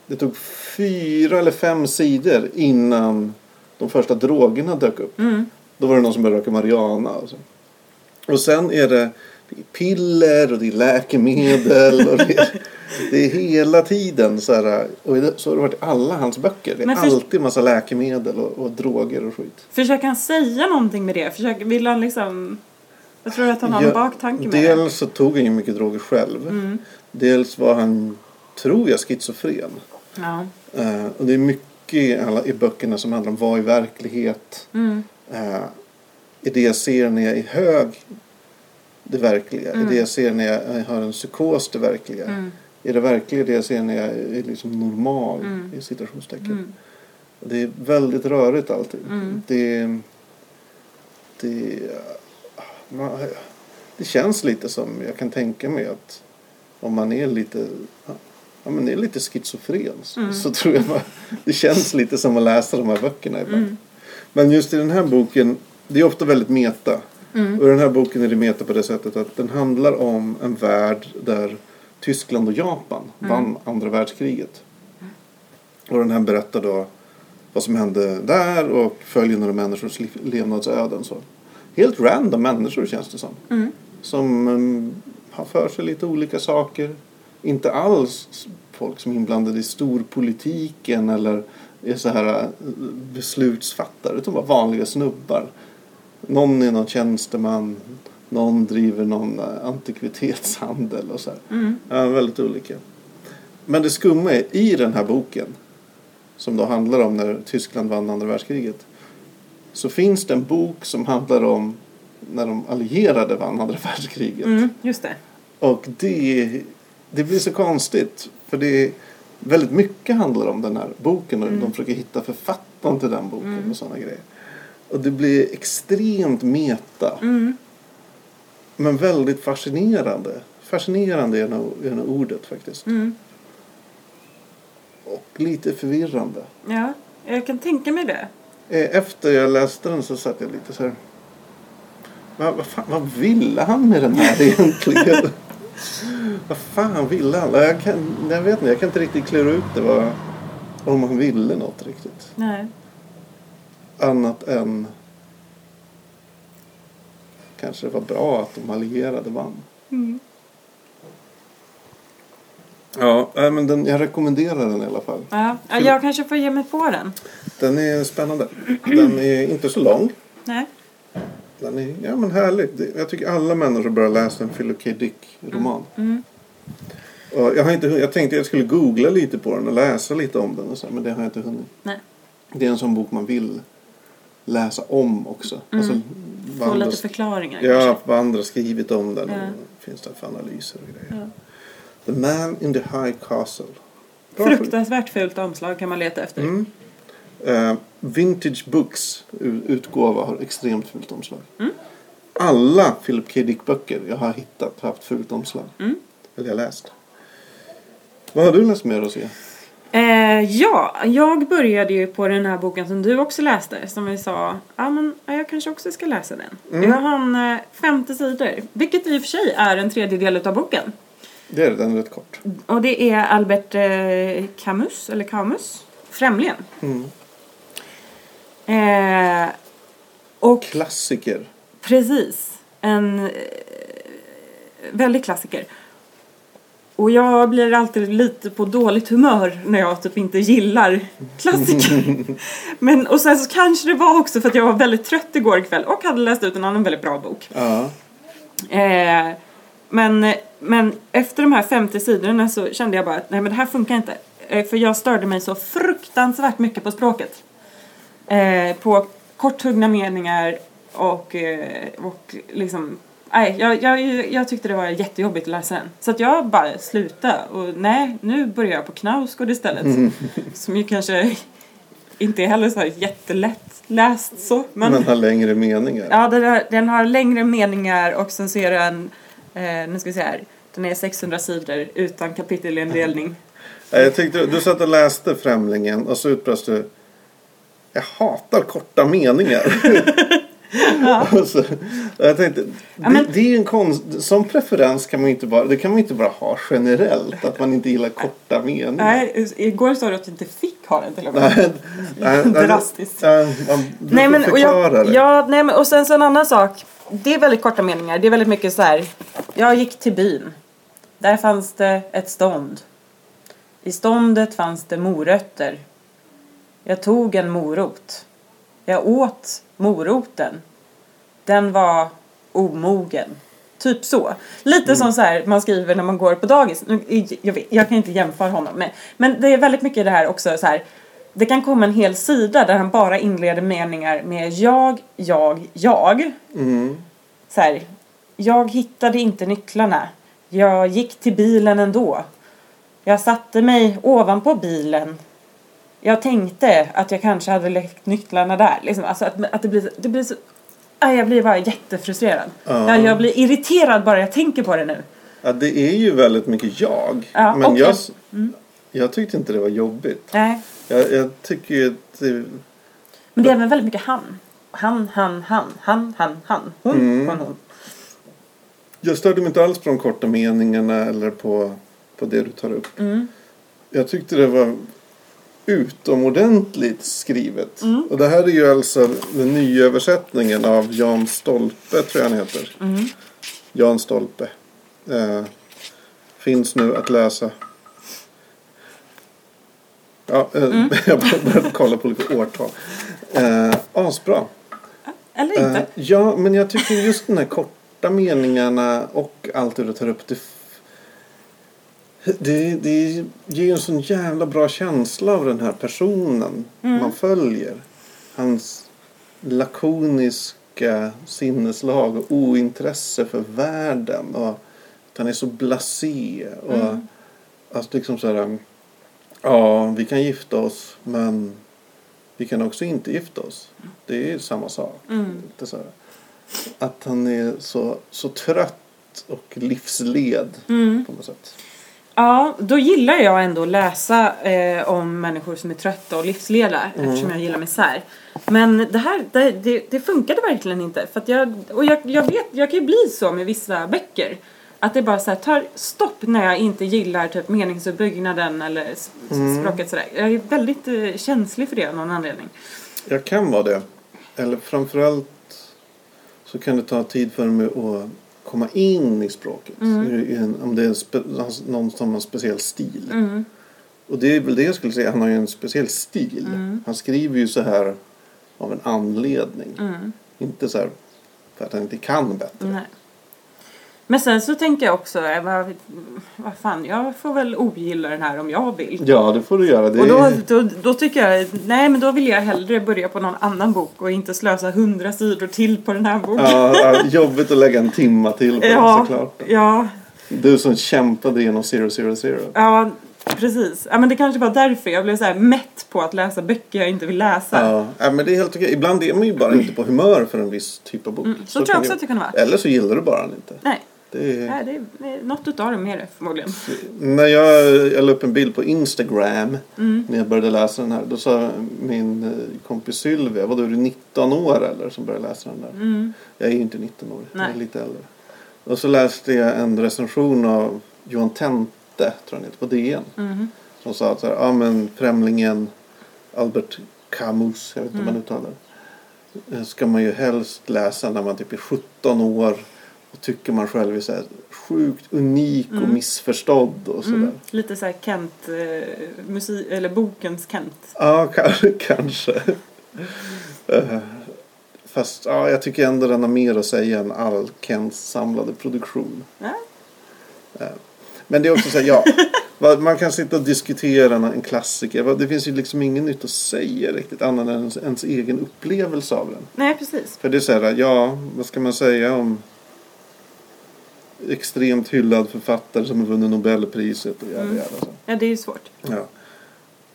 Speaker 1: det tog fyra eller fem sidor innan de första drogerna dök upp.
Speaker 2: mm.
Speaker 1: Då var det någon som började röka marijuana. Och, så. och sen är det, det är piller och det är läkemedel. Och det, är, det är hela tiden så här. Och det- så har det varit i alla hans böcker. Det är
Speaker 2: Men för-
Speaker 1: alltid massa läkemedel och, och droger och skit.
Speaker 2: Försöker han säga någonting med det? Försöker, vill han liksom... Jag tror att han har
Speaker 1: Ja,
Speaker 2: en baktanke med det. Mm.
Speaker 1: Dels så tog han ju mycket droger själv. Dels var han, tror jag, schizofren.
Speaker 2: Ja.
Speaker 1: Eh, och det är mycket i, alla, i böckerna som handlar om vad i verklighet.
Speaker 2: Mm.
Speaker 1: Eh, I det jag ser när jag är hög, det verkliga. I det jag ser när jag eh, har en psykos, det verkliga.
Speaker 2: Mm.
Speaker 1: I det verkliga, det jag ser när jag är liksom normal, i citationstecken.
Speaker 2: Mm.
Speaker 1: Det är väldigt rörigt allting.
Speaker 2: Mm.
Speaker 1: Det, det, man, det känns lite som, jag kan tänka mig att om man är lite, ja, men är lite schizofren så-
Speaker 2: Mm.
Speaker 1: så tror jag man, det känns lite som att läsa de här böckerna ibland.
Speaker 2: Mm.
Speaker 1: Men just i den här boken, det är ofta väldigt meta.
Speaker 2: Mm.
Speaker 1: Och i den här boken är det meta på det sättet att den handlar om en värld där Tyskland och Japan vann andra världskriget. Och den här berättar då vad som hände där och följer några människors liv- levnadsöden. Så. Helt random människor känns det som.
Speaker 2: Mm.
Speaker 1: Som mm, har för sig lite olika saker. Inte alls s- folk som är inblandade i storpolitiken eller är så här eh, beslutsfattare. Utan bara vanliga snubbar. Någon är någon tjänsteman. Någon driver någon eh, antikvitetshandel och så här.
Speaker 2: Mm.
Speaker 1: Ja, väldigt olika. Men det skumma är i den här boken som då handlar om när Tyskland vann andra världskriget så finns det en bok som handlar om när de allierade vann andra världskriget.
Speaker 2: Mm. Just det.
Speaker 1: Och det, det blir så konstigt för det är väldigt mycket handlar om den här boken och
Speaker 2: Mm.
Speaker 1: de försöker hitta författaren till den boken och sådana grejer. Och det blir extremt meta.
Speaker 2: Mm.
Speaker 1: Men väldigt fascinerande. Fascinerande är nog är nog ordet faktiskt.
Speaker 2: Mm.
Speaker 1: Och lite förvirrande.
Speaker 2: Ja, jag kan tänka mig det.
Speaker 1: Eh, Efter jag läste den så satt jag lite så här. Vad, vad, fan, vad ville han med den här egentligen? vad fan ville han? Jag, kan, jag vet inte, jag kan inte riktigt klura ut det. Vad, om han ville något riktigt.
Speaker 2: Nej.
Speaker 1: Annat än kanske det var bra att de allierade vann.
Speaker 2: Mm.
Speaker 1: Ja, eh, men den, jag rekommenderar den i alla fall.
Speaker 2: Ja. ja, jag kanske får ge mig på den.
Speaker 1: Den är spännande. Den är inte så lång.
Speaker 2: Nej.
Speaker 1: Den är ja, men härlig. Det- Jag tycker alla människor bör läsa en Philip K. Dick-roman.
Speaker 2: Mm.
Speaker 1: Och Jag, har inte, hun- jag tänkte jag skulle googla lite på den och läsa lite om den och så, här, men det har jag inte hunnit.
Speaker 2: Nej.
Speaker 1: Det är en sån bok man vill läsa om också.
Speaker 2: Mm.
Speaker 1: Alltså, vad
Speaker 2: Få
Speaker 1: andra
Speaker 2: lite
Speaker 1: sk-
Speaker 2: förklaringar kanske.
Speaker 1: Ja, vad andra skrivit om den.
Speaker 2: Ja.
Speaker 1: Och finns det för analyser och grejer.
Speaker 2: Ja.
Speaker 1: The Man in the High Castle. Bra skit.
Speaker 2: Fruktansvärt fult omslag kan man leta efter.
Speaker 1: Mm. Eh, vintage Books u- utgåva har extremt fult omslag. Alla Philip K. Dick-böcker jag har hittat har haft fult omslag.
Speaker 2: Mm.
Speaker 1: Eller jag läst. Vad har du läst mer att se?
Speaker 2: Eh, ja, jag började ju på den här boken som du också läste. Som vi sa, ja men ja, jag kanske också ska läsa den. Jag har eh, 50 sidor. Vilket i och för sig är en tredjedel utav boken.
Speaker 1: Det är den rätt kort.
Speaker 2: Och det är Albert eh, Camus, eller Camus, Främlingen.
Speaker 1: Mm.
Speaker 2: Eh, och
Speaker 1: Klassiker.
Speaker 2: Precis. En eh, väldig klassiker. Och jag blir alltid lite på dåligt humör när jag typ inte gillar klassiker. Men, och sen så kanske det var också för att jag var väldigt trött igår kväll och hade läst ut en annan väldigt bra bok.
Speaker 1: Ja.
Speaker 2: Eh, men, men efter de här 50 sidorna så kände jag bara att nej men det här funkar inte. Eh, för jag störde mig så fruktansvärt mycket på språket. Eh, på korthuggna meningar och, eh, och liksom Nej, jag, jag, jag tyckte det var jättejobbigt att läsa den. Så att jag bara slutade och nej, nu börjar jag på Knausgård istället. Som ju kanske inte heller så här jättelätt läst så. Men,
Speaker 1: Men har längre meningar.
Speaker 2: ja, den, har, den har längre meningar och sen så är den, eh, nu ska vi se här, den är 600 sidor utan kapitelindelning.
Speaker 1: Nej, Eh, Jag tyckte, du satt och läste Främlingen och så utbrast du Jag hatar korta meningar. Och så, och jag tänkte,
Speaker 2: Ja, men-
Speaker 1: det, det är ju en konst, sån preferens kan man ju inte bara, det kan man ju inte bara ha generellt. Att man inte gillar korta meningar.
Speaker 2: Nej, igår sa du att du inte fick ha den till och med.
Speaker 1: Nej, nej, nej,
Speaker 2: Drastiskt.
Speaker 1: Ja, man
Speaker 2: Nej,
Speaker 1: brukar
Speaker 2: men, och,
Speaker 1: förklara
Speaker 2: jag,
Speaker 1: det.
Speaker 2: ja, nej, men, och sen så en annan sak. Det är väldigt korta meningar. Det är väldigt mycket så här. Jag gick till byn. Där fanns det ett stånd. I ståndet fanns det morötter. Jag tog en morot. Jag åt moroten. Den var omogen. Typ så. Lite som så här man skriver när man går på dagis. Nu, i- Jag, vet, jag kan inte jämföra honom med. Men det är väldigt mycket det här också så här. Det kan komma en hel sida där han bara inleder meningar med jag, jag, jag.
Speaker 1: Mm.
Speaker 2: Så här. Jag hittade inte nycklarna. Jag gick till bilen ändå. Jag satte mig ovanpå bilen. Jag tänkte att jag kanske hade lagt nycklarna där. Liksom, alltså att, att det blir, det blir så... Aj, jag blir bara jättefrustrerad.
Speaker 1: Ja.
Speaker 2: Ja, jag blir irriterad bara jag tänker på det nu.
Speaker 1: Ja, det är ju väldigt mycket jag.
Speaker 2: Ja, Mm.
Speaker 1: men
Speaker 2: och-
Speaker 1: jag, jag tyckte inte det var jobbigt.
Speaker 2: Nej.
Speaker 1: Jag, jag tycker ju att det,
Speaker 2: Men det är även väldigt mycket han. Han, han, han, han, han, han. Hon,
Speaker 1: Mm.
Speaker 2: hon, hon.
Speaker 1: Jag störde mig inte alls på de korta meningarna eller på, på det du tar upp.
Speaker 2: Mm.
Speaker 1: Jag tyckte det var utomordentligt skrivet. Och det här är ju alltså den nya översättningen av Jan Stolpe, tror jag han heter. Jan Stolpe. Eh, finns nu att läsa. Ja, eh, jag började kolla på olika årtal. Eh, asbra.
Speaker 2: Eller inte.
Speaker 1: Eh, ja, men jag tycker just de här korta meningarna och allt det du tar upp. Det, f- det, det ger ju en sån jävla bra känsla av den här personen
Speaker 2: Mm.
Speaker 1: man följer. Hans lakoniska sinneslag och ointresse för världen. Och att han är så blasé. Och
Speaker 2: Mm.
Speaker 1: att liksom så här, ja, vi kan gifta oss men vi kan också inte gifta oss. Det är samma sak. Lite så här. Att han är så, så trött och livsled på något sätt.
Speaker 2: Ja, då gillar jag ändå att läsa eh, om människor som är trötta och livsleda eftersom jag gillar misär. Men det här, det, det, det funkade verkligen inte. För att jag, och jag, jag vet, jag kan ju bli så med vissa böcker. Att det bara så här, tar stopp när jag inte gillar typ meningsuppbyggnaden eller s- s- språket sådär. Jag är väldigt eh, känslig för det av någon anledning.
Speaker 1: Jag kan vara det. Eller framförallt så kan det ta tid för mig att komma in i språket. I en- Om det är en spe, någon som har en speciell stil. Och det är väl det jag skulle säga. Han har ju en speciell stil. Han skriver ju så här av en anledning. Inte så här för att han inte kan bättre.
Speaker 2: Nej. Men sen så tänker jag också, eh, vad, vad fan, jag får väl ogilla den här om jag vill.
Speaker 1: Ja, det får du göra. Det
Speaker 2: Och då,
Speaker 1: är...
Speaker 2: då, då tycker jag, nej men då vill jag hellre börja på någon annan bok och inte slösa hundra sidor till på den här boken.
Speaker 1: Ja, ja, jobbigt att lägga en timma till på det såklart.
Speaker 2: ja,
Speaker 1: Du som kämpade genom Zero Zero Zero.
Speaker 2: ja, precis. Ja men det kanske var därför jag blev så här mätt på att läsa böcker jag inte vill läsa.
Speaker 1: Ja, ja, men det är helt okej. Ibland är man ju bara inte på humör för en viss typ av bok.
Speaker 2: Mm, så tror jag
Speaker 1: kan
Speaker 2: också
Speaker 1: det-
Speaker 2: att det kan vara.
Speaker 1: Eller så gillar du bara den inte.
Speaker 2: Nej,
Speaker 1: Det är...
Speaker 2: nej det är, det är något utav dem är det förmodligen.
Speaker 1: När jag, jag la upp en bild på Instagram
Speaker 2: Mm,
Speaker 1: när jag började läsa den här. Då sa min eh, kompis Sylvia, vadå är du 19 år eller? Som började läsa den där.
Speaker 2: mm,
Speaker 1: Jag är ju inte 19 år, jag är
Speaker 2: Nej.
Speaker 1: lite äldre. Och så läste jag en recension av Johan Tente, tror jag han heter, på DN.
Speaker 2: mm.
Speaker 1: Som sa att så här, ja men främlingen Albert Camus, jag vet inte hur
Speaker 2: Mm.
Speaker 1: man uttalar det. eh, Ska man ju helst läsa när man typ är 17 år och tycker man själv är så här sjukt unik och missförstådd och sådär.
Speaker 2: Mm, lite så här Kent, eh, musik, eller bokens Kent.
Speaker 1: Ja, kanske. kanske. Eh, Fast ja, jag tycker ändå den har mer att säga än all Kents samlade produktion. Eh,
Speaker 2: Ja.
Speaker 1: Men det är också så här, ja. vad- Man kan sitta och diskutera en- en klassiker. Vad- Det finns ju liksom ingen nytt att säga riktigt annan än ens, ens egen upplevelse av den.
Speaker 2: Nej precis.
Speaker 1: För det är så här, ja, vad ska man säga om extremt hyllad författare som har vunnit Nobelpriset och jävla, jävla så.
Speaker 2: Ja det är ju svårt.
Speaker 1: Ja.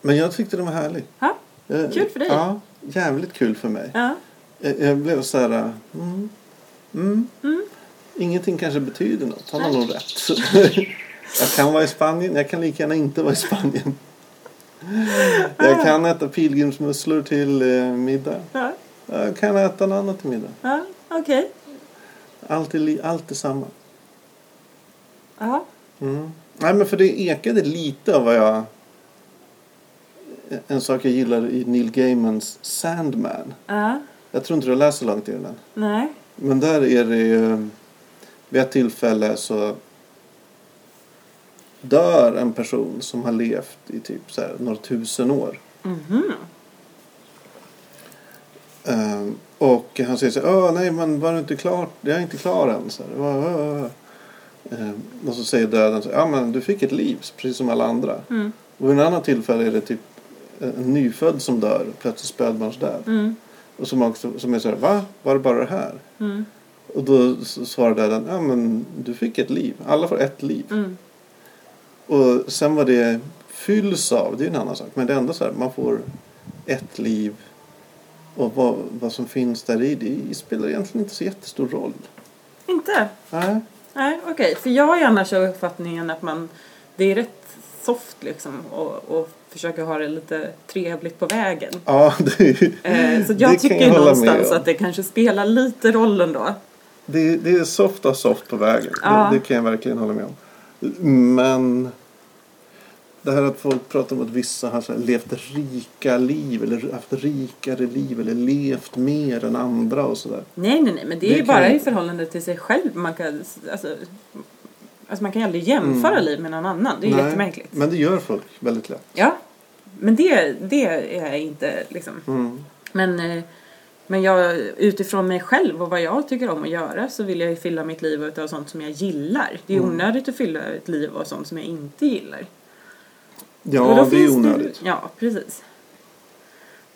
Speaker 1: Men jag tyckte den var härlig.
Speaker 2: Ja.
Speaker 1: Eh,
Speaker 2: Kul för dig.
Speaker 1: Ja, jävligt kul för mig.
Speaker 2: Ja.
Speaker 1: Jag, jag blev så här... eh, Mm, mm.
Speaker 2: Mm.
Speaker 1: Ingenting kanske betyder något. Han har
Speaker 2: Nej.
Speaker 1: nog rätt. jag kan vara i Spanien. Jag kan lika gärna inte vara i Spanien. Jag
Speaker 2: Ah.
Speaker 1: kan äta pilgrimsmusslor till eh, middag.
Speaker 2: Ja.
Speaker 1: Jag kan äta något annat till middag.
Speaker 2: ja. Okej.
Speaker 1: Allt är, li- allt är samma.
Speaker 2: Ja.
Speaker 1: Mm. Nej, men för det ekade lite av vad jag... En sak jag gillar i Neil Gaimans Sandman.
Speaker 2: Ja.
Speaker 1: Jag tror inte du läser långt i den.
Speaker 2: Nej.
Speaker 1: Men där är det ju... Vid ett tillfälle så dör en person som har levt i typ så här, några tusen år.
Speaker 2: Mhm.
Speaker 1: Ehm, och han säger så här, "Åh, nej men var det inte klart? Jag är inte klar än. Så här, "Åh, åh, åh." Ehm, och så säger döden så här, ja men du fick ett liv precis som alla andra.
Speaker 2: Mm.
Speaker 1: Och vid en annan tillfälle är det typ en nyfödd som dör, plötsligt spädbarnsdöd.
Speaker 2: Mm.
Speaker 1: Och som, också, som är så här, va? Var det bara det här?
Speaker 2: Mm.
Speaker 1: Och då s- svarar döden, ja men du fick ett liv. Alla får ett liv.
Speaker 2: Mm.
Speaker 1: Och sen vad det fylls av, det är en annan sak. Men det är ändå så här, man får ett liv. Och vad, vad som finns där i, det spelar egentligen inte så jättestor roll.
Speaker 2: Inte?
Speaker 1: Nej.
Speaker 2: Nej, okej. För jag har ju annars uppfattningen att man, det är rätt soft liksom och, och försöka ha det lite trevligt på vägen.
Speaker 1: Ja, det, är-
Speaker 2: Eh, så
Speaker 1: Mm. Det
Speaker 2: jag
Speaker 1: kan
Speaker 2: tycker
Speaker 1: jag hålla
Speaker 2: någonstans
Speaker 1: med om.
Speaker 2: att det kanske spelar lite roll ändå.
Speaker 1: det, är- det är soft av soft på vägen.
Speaker 2: Ja.
Speaker 1: Det, det kan jag verkligen hålla med om. Men det här att folk pratar om att vissa har så här, levt rika liv eller haft rikare liv eller levt mer än andra och sådär.
Speaker 2: Nej, nej, nej, men det är
Speaker 1: Det
Speaker 2: ju
Speaker 1: kan
Speaker 2: bara
Speaker 1: ju-
Speaker 2: i förhållande till sig själv. Man kan, alltså, alltså man kan ju aldrig jämföra
Speaker 1: Mm.
Speaker 2: liv med någon annan. Det är ju
Speaker 1: Nej,
Speaker 2: jättemärkligt.
Speaker 1: Men det gör folk väldigt lätt.
Speaker 2: Ja, men det, det är jag inte liksom.
Speaker 1: Mm.
Speaker 2: Men, eh, men jag, utifrån mig själv och vad jag tycker om att göra så vill jag ju fylla mitt liv utav sånt som jag gillar. Det är
Speaker 1: Mm.
Speaker 2: onödigt att fylla ett liv av sånt som jag inte gillar. Och
Speaker 1: Ja,
Speaker 2: då
Speaker 1: det är
Speaker 2: finns
Speaker 1: onödigt.
Speaker 2: ja, precis.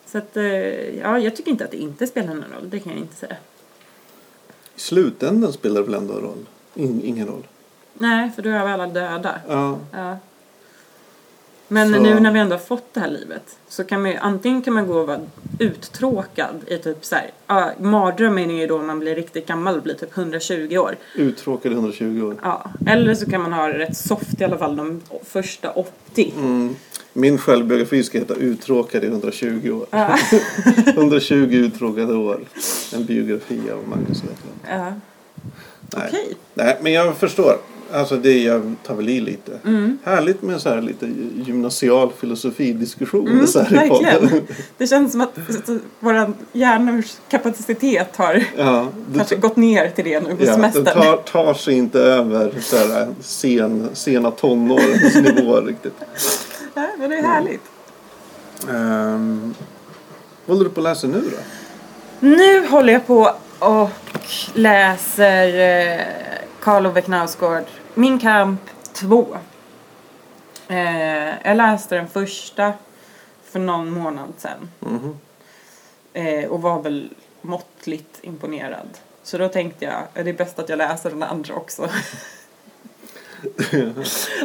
Speaker 2: Så att, eh, ja, jag tycker inte att det inte spelar någon roll, det kan jag inte säga.
Speaker 1: I slutändan spelar det väl ändå roll? In, ingen roll.
Speaker 2: Nej, för då är vi alla döda.
Speaker 1: Ja.
Speaker 2: Ja. Men
Speaker 1: Så-
Speaker 2: nu när vi ändå har fått det här livet så kan man ju, antingen kan man gå och vara uttråkad i typ så här, ja, mardrömmen är ju då man blir riktigt gammal och blir typ 120 år.
Speaker 1: Uttråkad i 120 år.
Speaker 2: Ja, eller så kan man ha det rätt soft i alla fall de första 80.
Speaker 1: Mm. Min självbiografi ska heta Uttråkad i 120 år.
Speaker 2: Ja.
Speaker 1: 120 uttråkade år. En biografi av Magnus Hedlund.
Speaker 2: Ja,
Speaker 1: Nej.
Speaker 2: okej.
Speaker 1: Nej, men jag förstår. Alltså det jag tar väl i lite.
Speaker 2: Mm.
Speaker 1: Härligt med så här lite gymnasial filosofidiskussion
Speaker 2: Mm,
Speaker 1: så här i podden.
Speaker 2: verkligen. Det känns som att alltså, vår hjärnors kapacitet har
Speaker 1: Ja, det,
Speaker 2: kanske gått ner till det nu på
Speaker 1: Ja, den
Speaker 2: semestern.
Speaker 1: tar, tar sig inte över så här, eh, sen, sena tonårens nivåer riktigt.
Speaker 2: Ja, men det
Speaker 1: Mm.
Speaker 2: är härligt.
Speaker 1: Um, vad håller du på att läsa nu då?
Speaker 2: Nu håller jag på och läser eh, Karl Ove Knausgård, Min kamp 2. Eh, jag läste den första för någon månad sedan
Speaker 1: Mhm.
Speaker 2: eh, och var väl måttligt imponerad. Så då tänkte jag, eh, det är bäst att jag läser den andra också.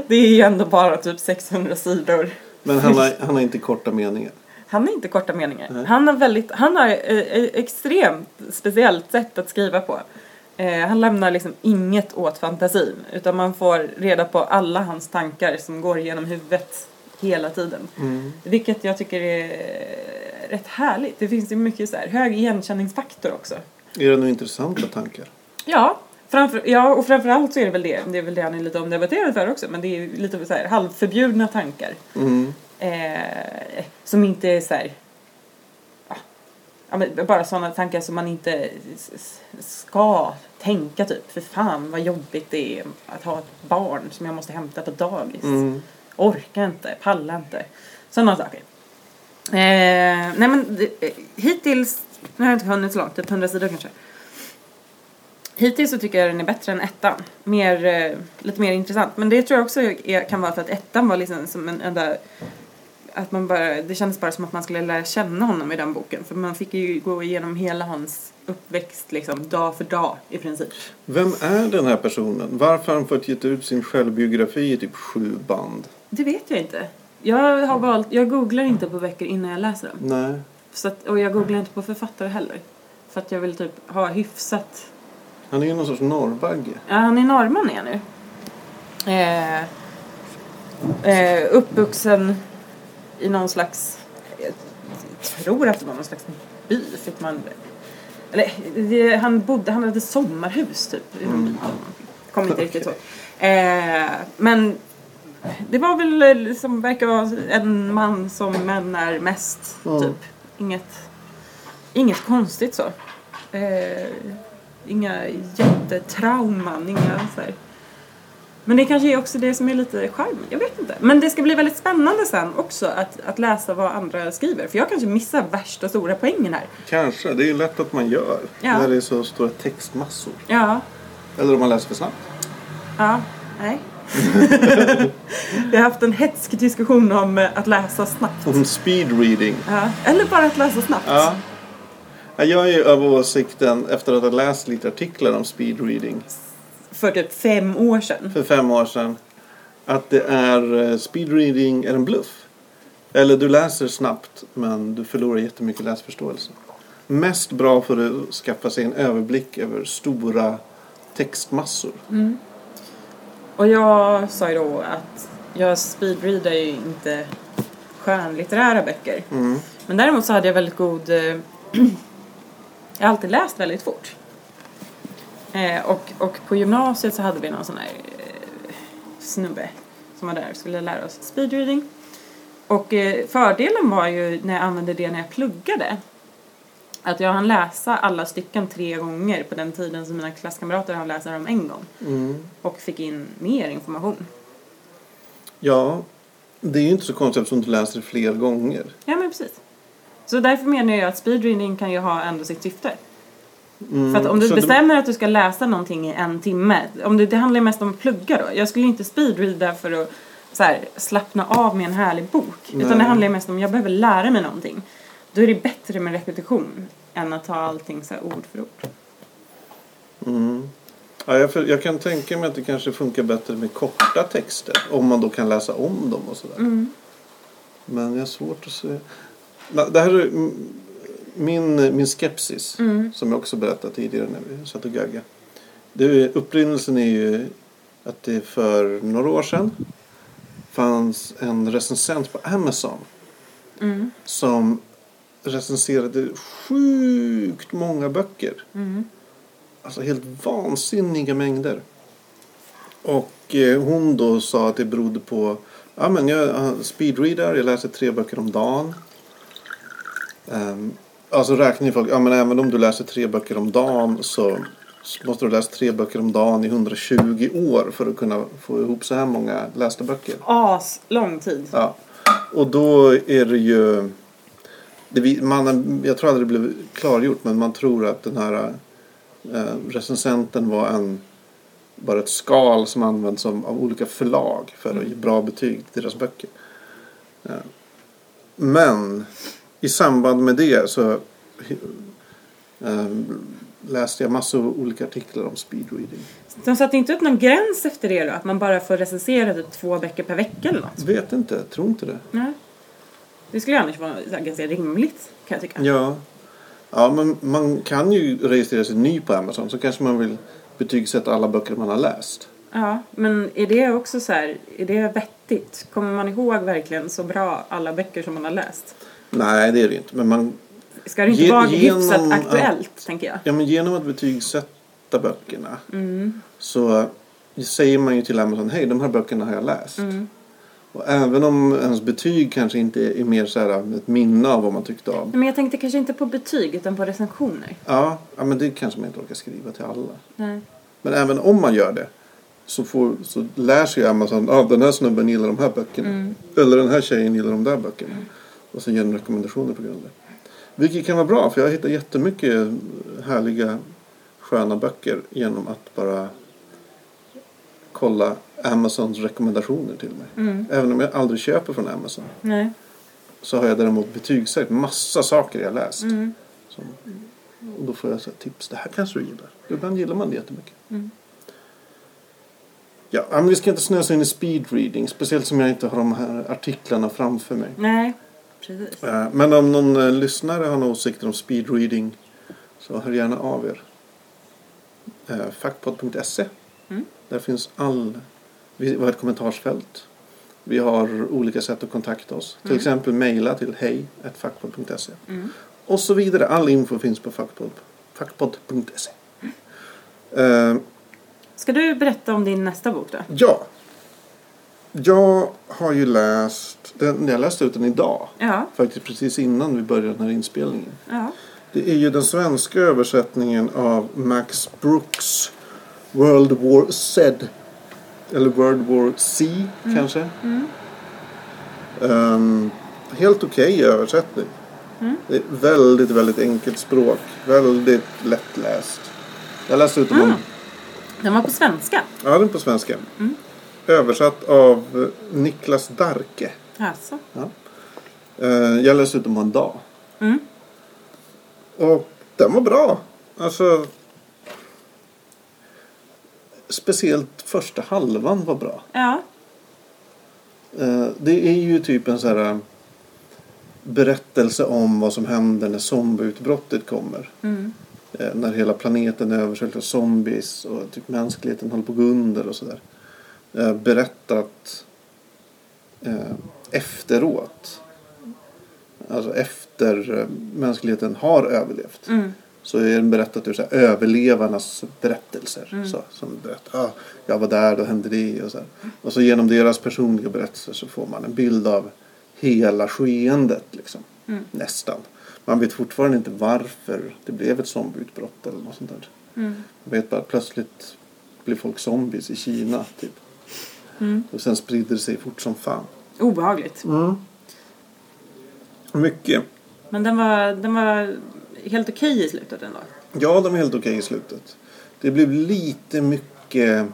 Speaker 2: det är ju ändå bara typ 600 sidor.
Speaker 1: Men han har, han har inte korta meningar.
Speaker 2: Han har inte korta meningar.
Speaker 1: Nej.
Speaker 2: Han har, väldigt, han har eh, eh, extremt speciellt sätt att skriva på. Eh, han lämnar liksom inget åt fantasin utan man får reda på alla hans tankar som går genom huvudet hela tiden.
Speaker 1: Mm.
Speaker 2: Vilket jag tycker är rätt härligt. Det finns ju mycket så här hög igenkänningsfaktor också.
Speaker 1: Är det några intressanta tankar?
Speaker 2: Ja, framför, ja och framförallt så är det väl det. Det är väl det han är lite omdebatterad för också men det är ju lite så här halvförbjudna tankar
Speaker 1: Mm.
Speaker 2: eh, som inte är så här, ja, ja, men bara sådana tankar som man inte s- s- ska tänka typ. För fan vad jobbigt det är att ha ett barn som jag måste hämta på dagis.
Speaker 1: Mm.
Speaker 2: Orkar inte, pallar inte. Sådana saker. Eh, nej men det- eh, hittills, nu har jag inte hunnit så långt, typ 100 sidor kanske. Hittills så tycker jag den är bättre än ettan. Mer, eh, lite mer intressant. Men det tror jag också är, kan vara för att ettan var liksom som en enda... Att man bara, det kändes bara som att man skulle lära känna honom i den boken. För man fick ju gå igenom hela hans uppväxt liksom, dag för dag i princip.
Speaker 1: Vem är den här personen? Varför har han fått ge ut sin självbiografi i typ sju band?
Speaker 2: Det vet jag inte. Jag, har valt, jag googlar inte på böcker innan jag läser dem.
Speaker 1: Nej.
Speaker 2: Så att, och jag googlar inte på författare heller. För att jag vill typ ha hyfsat...
Speaker 1: Han är ju någon sorts norrbagge.
Speaker 2: Ja, han är norrman är jag nu. Eh, eh, uppvuxen i någon slags... Jag tror att det var någon slags by. Fick man, eller, det, han, bodde, han hade sommarhus typ. i någon by. Kommer inte riktigt ihåg. Eh, men det var väl liksom, verkar vara en man som män är mest.
Speaker 1: Ja.
Speaker 2: Typ. Inget, inget konstigt så. Eh, inga jättetrauman, inga så här. Men det kanske är också det som är lite charm. Jag vet inte. Men det ska bli väldigt spännande sen också att, att läsa vad andra skriver. För jag kanske missar värsta stora poängen här.
Speaker 1: Kanske. Det är ju lätt att man gör.
Speaker 2: Ja.
Speaker 1: När det är så stora textmassor.
Speaker 2: Ja,
Speaker 1: Eller om man läser för snabbt.
Speaker 2: ja, nej. Vi har haft en hätsk diskussion om eh, att läsa snabbt.
Speaker 1: Om speed reading.
Speaker 2: Ja. Eller bara att läsa snabbt.
Speaker 1: Mm. Ja. Ja, Jag är ju av åsikten, efter att ha läst lite artiklar om speed reading
Speaker 2: För typ fem år sedan.
Speaker 1: för fem år sedan, att det är eh, speed reading är en bluff. Eller du läser snabbt men du förlorar jättemycket läsförståelse. Mest bra för att skaffa sig en överblick över stora textmassor.
Speaker 2: Och jag sa ju då att jag speedreadar ju inte skönlitterära böcker.
Speaker 1: Mm.
Speaker 2: Men däremot så hade jag väldigt god... eh, jag har alltid läst väldigt fort. Eh, och, och på gymnasiet så hade vi någon sån här eh, snubbe som var där och skulle lära oss speedreading. Och eh, fördelen var ju när jag använde det när jag pluggade. Att jag hann läsa alla stycken tre gånger på den tiden som mina klasskamrater hann läsa dem en gång.
Speaker 1: Mm.
Speaker 2: Och fick in mer information.
Speaker 1: Ja, det är ju inte så konstigt eftersom du läser det fler gånger.
Speaker 2: Ja men precis. Så därför menar jag att speedreading kan ju ha ändå sitt syfte. För att om du
Speaker 1: Mm. så
Speaker 2: bestämmer att du ska läsa någonting i en timme, om det, det handlar ju mest om att plugga då. Jag skulle ju inte speedreada för att så här, slappna av med en härlig bok. Utan det
Speaker 1: Nej.
Speaker 2: handlar ju mest om att jag behöver lära mig någonting. Då är det bättre med repetition än att ta allting så här ord för ord.
Speaker 1: Mm. Ja, jag, för, jag kan tänka mig att det kanske funkar bättre med korta texter. Om man då kan läsa om dem och sådär. Men jag har svårt att se. Na, Det här är mm, min, min skepsis. Som jag också berättade tidigare när vi satt och gaggade. Det är, upprinnelsen är ju att det för några år sedan fanns en recensent på Amazon
Speaker 2: Mm.
Speaker 1: som recenserade sjukt många böcker.
Speaker 2: Mm.
Speaker 1: Alltså helt vansinniga mängder. Och eh, hon då sa att det berodde på ja, men jag eh, speedreadar, jag läser tre böcker om dagen. Ehm, alltså räknar ju folk, ja, men även om du läser tre böcker om dagen så måste du läsa tre böcker om dagen i 120 år för att kunna få ihop så här många lästa böcker.
Speaker 2: As lång tid.
Speaker 1: Ja. Och då är det ju... Det vi, man, jag tror aldrig det blev klargjort men man tror att den här eh, recensenten var en bara ett skal som används av, av olika förlag för att ge bra betyg till deras böcker. Eh, Men i samband med det så eh, läste jag massor av olika artiklar om speedreading.
Speaker 2: De satte inte upp någon gräns efter det då? Att man bara får recensera typ två böcker per vecka eller något?
Speaker 1: Vet inte, tror inte det.
Speaker 2: Nej. Det skulle ju annars vara så här ganska rimligt kan jag tycka.
Speaker 1: Ja. Ja, men man kan ju registrera sig ny på Amazon så kanske man vill betygsätta alla böcker man har läst.
Speaker 2: Ja, men är det också så här, är det vettigt? Kommer man ihåg verkligen så bra alla böcker som man har läst?
Speaker 1: Nej, det är det ju inte. Men, man,
Speaker 2: Ska det inte
Speaker 1: Ge-
Speaker 2: vara
Speaker 1: genom
Speaker 2: hyfsat
Speaker 1: att-
Speaker 2: aktuellt, tänker jag?
Speaker 1: ja, men genom att betygsätta böckerna så säger man ju till Amazon hej, de här böckerna har jag läst. Och även om ens betyg kanske inte är mer så här ett minne av vad man tyckte om.
Speaker 2: Nej, Men jag tänkte kanske inte på betyg, utan på recensioner.
Speaker 1: Ja, ja men det kanske man inte orkar skriva till alla.
Speaker 2: Nej.
Speaker 1: Men även om man gör det så, får, så lär sig ju Amazon att ah, den här snubben gillar de här böckerna. Eller den här tjejen gillar de där böckerna. Och så ger den rekommendationer på grund av det. Vilket kan vara bra för jag hittar jättemycket härliga sköna böcker genom att bara kolla Amazons rekommendationer till mig. Även om jag aldrig köper från Amazon
Speaker 2: Nej.
Speaker 1: så har jag däremot betygsatt massa saker jag läst.
Speaker 2: Mm.
Speaker 1: Som, och då får jag så här tips. Det här kanske du gillar. Ibland gillar man det jättemycket. Ja, men vi ska inte snösa in i speedreading. Speciellt som jag inte har de här artiklarna framför mig.
Speaker 2: Nej, precis.
Speaker 1: Eh, Men om någon eh, lyssnare har några åsikter om speedreading så hör gärna av er. Eh, Fackpodd.se.
Speaker 2: Mm.
Speaker 1: Där finns all... Vi har ett kommentarsfält. Vi har olika sätt att kontakta oss. Till exempel mejla till hej.fackpodd.se.
Speaker 2: Mm.
Speaker 1: Och så vidare. All info finns på fackpodd. fackpodd.se. Eh,
Speaker 2: Ska du berätta om din nästa bok då?
Speaker 1: ja. Jag har ju läst... Den, jag läste ut den idag.
Speaker 2: Ja,
Speaker 1: Faktiskt precis innan vi började den här inspelningen.
Speaker 2: ja.
Speaker 1: Det är ju den svenska översättningen av Max Brooks World War Z. Eller World War C kanske. Ehm, helt okej översättning. Det är väldigt, väldigt enkelt språk. Väldigt lättläst. Jag läste ut den om-
Speaker 2: Den var på svenska.
Speaker 1: ja, den på svenska. Översatt av eh, Niklas Darke.
Speaker 2: Alltså.
Speaker 1: Ja. Eh, Jag läste ut den på en dag.
Speaker 2: Mm.
Speaker 1: Och den var bra. Alltså... Speciellt första halvan var bra.
Speaker 2: Ja,
Speaker 1: Eh, Det är ju typ en så här eh, berättelse om vad som händer när zombieutbrottet kommer.
Speaker 2: Mm.
Speaker 1: Eh, När hela planeten är översköljt av zombies och typ mänskligheten håller på att gå under och sådär. Eh, Berättat eh, efteråt. Alltså efter eh, mänskligheten har överlevt.
Speaker 2: Mm.
Speaker 1: Så är den berättat ur så här, överlevarnas berättelser.
Speaker 2: Mm.
Speaker 1: Så, som berättar, ah, jag var där, då hände det och så här. Och så genom deras personliga berättelser så får man en bild av hela skeendet. Liksom.
Speaker 2: Mm.
Speaker 1: Nästan. Man vet fortfarande inte varför det blev ett zombieutbrott eller något sånt där.
Speaker 2: Mm.
Speaker 1: Man vet bara att plötsligt blev folk zombies i Kina. Typ.
Speaker 2: Mm.
Speaker 1: Och sen sprider det sig fort som fan.
Speaker 2: obehagligt.
Speaker 1: Mm. Mycket.
Speaker 2: Men den var, den var helt okej i slutet ändå.
Speaker 1: Ja, de är helt okej i slutet. Det blev lite mycket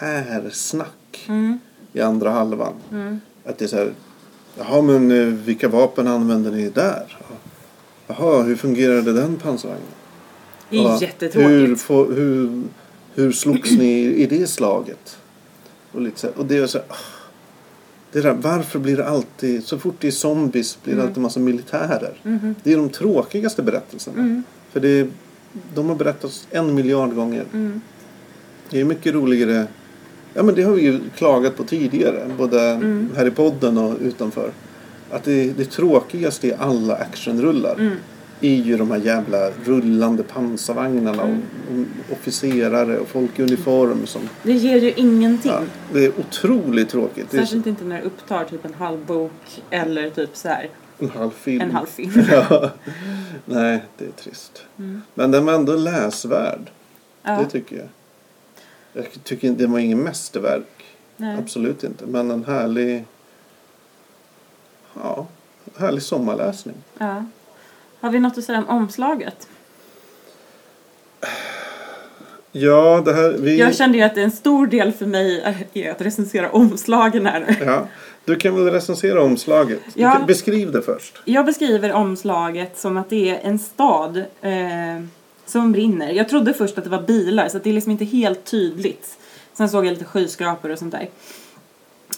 Speaker 1: militärsnack
Speaker 2: Mm.
Speaker 1: i andra halvan.
Speaker 2: Mm.
Speaker 1: Att det är så här, jaha men eh, vilka vapen använder ni där? Jaha, hur fungerade den pansarvagnen?
Speaker 2: Det är
Speaker 1: Ja, Hur,
Speaker 2: jättetråkigt.
Speaker 1: få, hur, hur slogs ni i det slaget? Och, lite så här, och det är så här, ah, det där, varför blir det alltid, så fort det är zombies blir det
Speaker 2: Mm.
Speaker 1: alltid massa militärer.
Speaker 2: Mm-hmm.
Speaker 1: Det är de tråkigaste berättelserna.
Speaker 2: Mm.
Speaker 1: För det, är- de har berättats en miljard gånger.
Speaker 2: Mm.
Speaker 1: Det är mycket roligare, ja men det har vi ju klagat på tidigare, både
Speaker 2: Mm.
Speaker 1: här i podden och utanför. Att det, det tråkigaste i alla actionrullar
Speaker 2: Mm.
Speaker 1: är ju de här jävla rullande pansarvagnarna och,
Speaker 2: Mm.
Speaker 1: och officerare och folk i uniform som...
Speaker 2: Det ger ju ingenting.
Speaker 1: Ja, det är otroligt tråkigt. Det är
Speaker 2: Särskilt inte när det upptar typ en halv bok eller typ så här
Speaker 1: en halv film.
Speaker 2: en halv film. Mm.
Speaker 1: ja. Nej, det är trist. Men den var ändå läsvärd.
Speaker 2: Ja.
Speaker 1: Det tycker jag. Jag tycker inte, det var ingen mästerverk.
Speaker 2: Nej.
Speaker 1: Absolut inte. Men en härlig... Ja, härlig sommarläsning.
Speaker 2: Ja. Har vi något att säga om omslaget?
Speaker 1: Ja, det här... Vi...
Speaker 2: Jag kände ju att en stor del för mig är- är att recensera omslagen här.
Speaker 1: Ja, du kan väl recensera omslaget? Du
Speaker 2: Ja.
Speaker 1: kan- Beskriv det först.
Speaker 2: Jag beskriver omslaget som att det är en stad eh, som brinner. Jag trodde först att det var bilar, så att det är liksom inte helt tydligt. Sen såg jag lite skyskrapor och sånt där.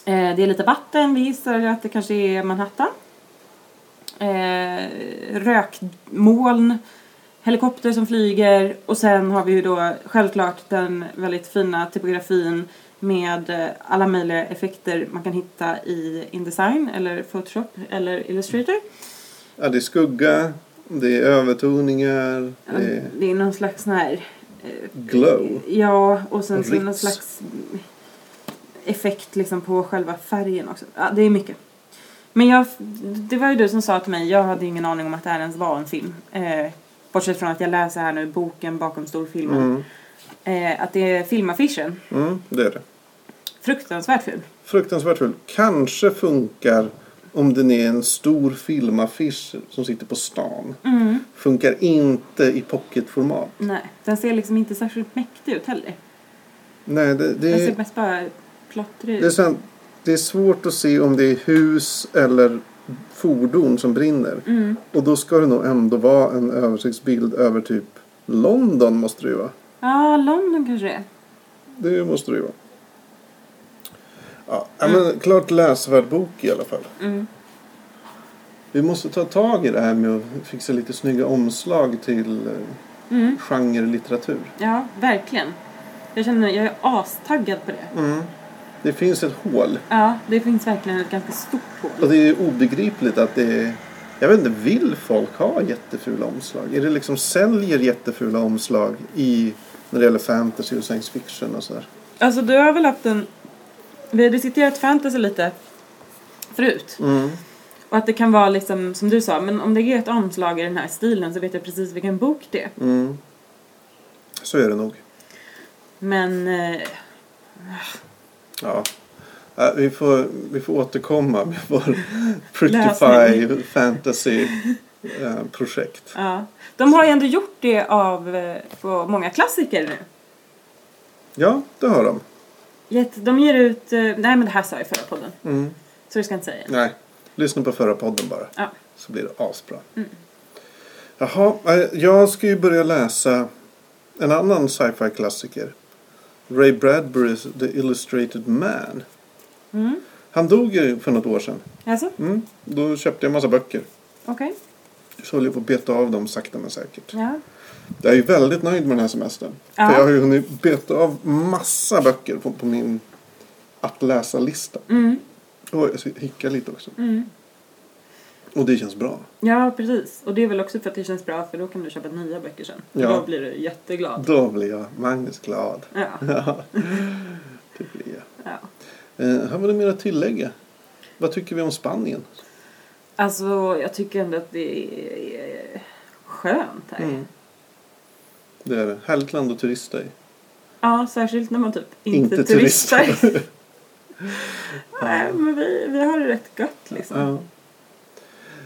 Speaker 2: Eh, det är lite vatten, vi gissar att det kanske är Manhattan. Eh, rökmoln, helikopter som flyger och sen har vi ju då självklart den väldigt fina typografin med eh, alla möjliga effekter man kan hitta i Indesign eller Photoshop eller Illustrator.
Speaker 1: Ja, det är skugga, det är övertoningar, det är
Speaker 2: Det är någon slags sån här... eh,
Speaker 1: glow.
Speaker 2: Ja, och sen så
Speaker 1: Ritz.
Speaker 2: någon slags effekt liksom på själva färgen också. Ja, det är mycket. Men jag, det var ju du som sa till mig, jag hade ingen aning om att det här ens var en film. Eh, bortsett från att jag läser här nu boken bakom storfilmen.
Speaker 1: Mm,
Speaker 2: Eh, att det är filmaffischen.
Speaker 1: mm, det är det.
Speaker 2: Fruktansvärt ful.
Speaker 1: Fruktansvärt ful. Kanske funkar om den är en stor filmaffisch som sitter på stan.
Speaker 2: Mm.
Speaker 1: Funkar inte i pocketformat.
Speaker 2: Nej, den ser liksom inte särskilt mäktig ut heller.
Speaker 1: Nej, det,
Speaker 2: Den ser
Speaker 1: det,
Speaker 2: mest bara plottrig
Speaker 1: det, är
Speaker 2: ut.
Speaker 1: sen, det är svårt att se om det är hus eller fordon som brinner.
Speaker 2: Mm.
Speaker 1: Och då ska det nog ändå vara en översiktsbild över typ London måste det ju vara.
Speaker 2: Ja, London kanske det är.
Speaker 1: det måste det ju vara. Ja, ja, men klart läsvärd bok i alla fall.
Speaker 2: Mm.
Speaker 1: Vi måste ta tag i det här med att fixa lite snygga omslag till eh,
Speaker 2: Mm.
Speaker 1: genrelitteratur.
Speaker 2: Ja, verkligen. Jag känner, jag är astaggad på det.
Speaker 1: Mm. Det finns ett hål.
Speaker 2: Ja, det finns verkligen ett ganska stort hål.
Speaker 1: Och Alltså, det är obegripligt att det Jag vet inte, vill folk ha jättefula omslag? Är det liksom säljer jättefula omslag i när det gäller fantasy och science fiction och sådär?
Speaker 2: Alltså du har väl haft en... Vi har diskuterat fantasy lite förut.
Speaker 1: Mm.
Speaker 2: Och att det kan vara liksom, som du sa, men om det är ett omslag i den här stilen så vet jag precis vilken bok det är.
Speaker 1: Mm. Så är det nog.
Speaker 2: Men... Eh,
Speaker 1: Ja. Ja, Vi får, vi får återkomma med vår
Speaker 2: Lösning.
Speaker 1: Prettify äh, fantasy-projekt.
Speaker 2: ja. De har ju ändå gjort det av eh, på många klassiker nu.
Speaker 1: Ja, det har de.
Speaker 2: Gett, de ger ut... Eh, nej men det här sa jag i förra podden.
Speaker 1: Mm.
Speaker 2: Så det ska jag inte säga igen.
Speaker 1: Nej, lyssna på förra podden bara.
Speaker 2: Ja. Mm.
Speaker 1: Så blir det asbra. Jaha, eh, jag ska ju börja läsa en annan sci-fi klassiker. Ray Bradburys The Illustrated Man.
Speaker 2: Mm.
Speaker 1: Han dog ju för något år sedan.
Speaker 2: Alltså?
Speaker 1: Mm. Då köpte jag en massa böcker.
Speaker 2: Okej.
Speaker 1: Så håller jag på att beta av dem sakta men säkert.
Speaker 2: Ja.
Speaker 1: Jag är ju väldigt nöjd med den här semestern.
Speaker 2: Ja.
Speaker 1: För jag har ju hunnit beta av massa böcker på, på min att läsa-lista.
Speaker 2: Mm.
Speaker 1: Oj, jag ska hicka lite också.
Speaker 2: Mm.
Speaker 1: Och det känns bra.
Speaker 2: Ja, precis. Och det är väl också för att det känns bra för då kan du köpa nya böcker sen.
Speaker 1: Ja.
Speaker 2: Då blir du jätteglad.
Speaker 1: Då blir jag Magnus glad.
Speaker 2: Ja.
Speaker 1: Ja, det blir jag.
Speaker 2: ja.
Speaker 1: Eh, har vi något mer att tillägga? Vad tycker vi om Spanien?
Speaker 2: Alltså, jag tycker ändå att det är skönt här.
Speaker 1: Mm. Det är det. Härligt land att turista i.
Speaker 2: Ja, särskilt när man typ inte,
Speaker 1: Inte
Speaker 2: turistar.
Speaker 1: turistar.
Speaker 2: Nej, men vi, vi har det rätt gött liksom.
Speaker 1: Ja. Mm.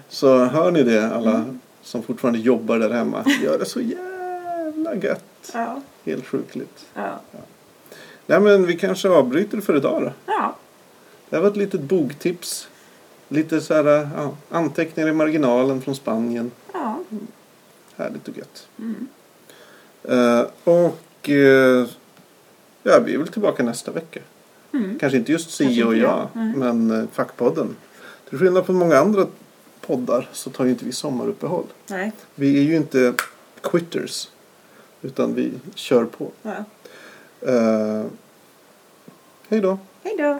Speaker 1: Så hör ni det alla som fortfarande jobbar där hemma. Gör det så jävla gött.
Speaker 2: Ja.
Speaker 1: Helt sjukligt.
Speaker 2: Ja.
Speaker 1: Nej men vi kanske avbryter för idag då.
Speaker 2: ja.
Speaker 1: Det här var ett litet boktips. Lite så här, eh, ja, anteckningar i marginalen från Spanien.
Speaker 2: ja.
Speaker 1: Härligt och gött.
Speaker 2: Mm.
Speaker 1: Eh, och eh, ja, vi är väl tillbaka nästa vecka.
Speaker 2: Mm.
Speaker 1: Kanske inte just
Speaker 2: Kanske
Speaker 1: Sio och
Speaker 2: inte
Speaker 1: jag,
Speaker 2: jag. Nej.
Speaker 1: men eh, fackpodden. Till skillnad från många andra poddar så tar ju inte vi sommaruppehåll.
Speaker 2: Nej.
Speaker 1: Vi är ju inte quitters, utan vi kör på.
Speaker 2: Ja.
Speaker 1: Eh, hej då!
Speaker 2: Hej då.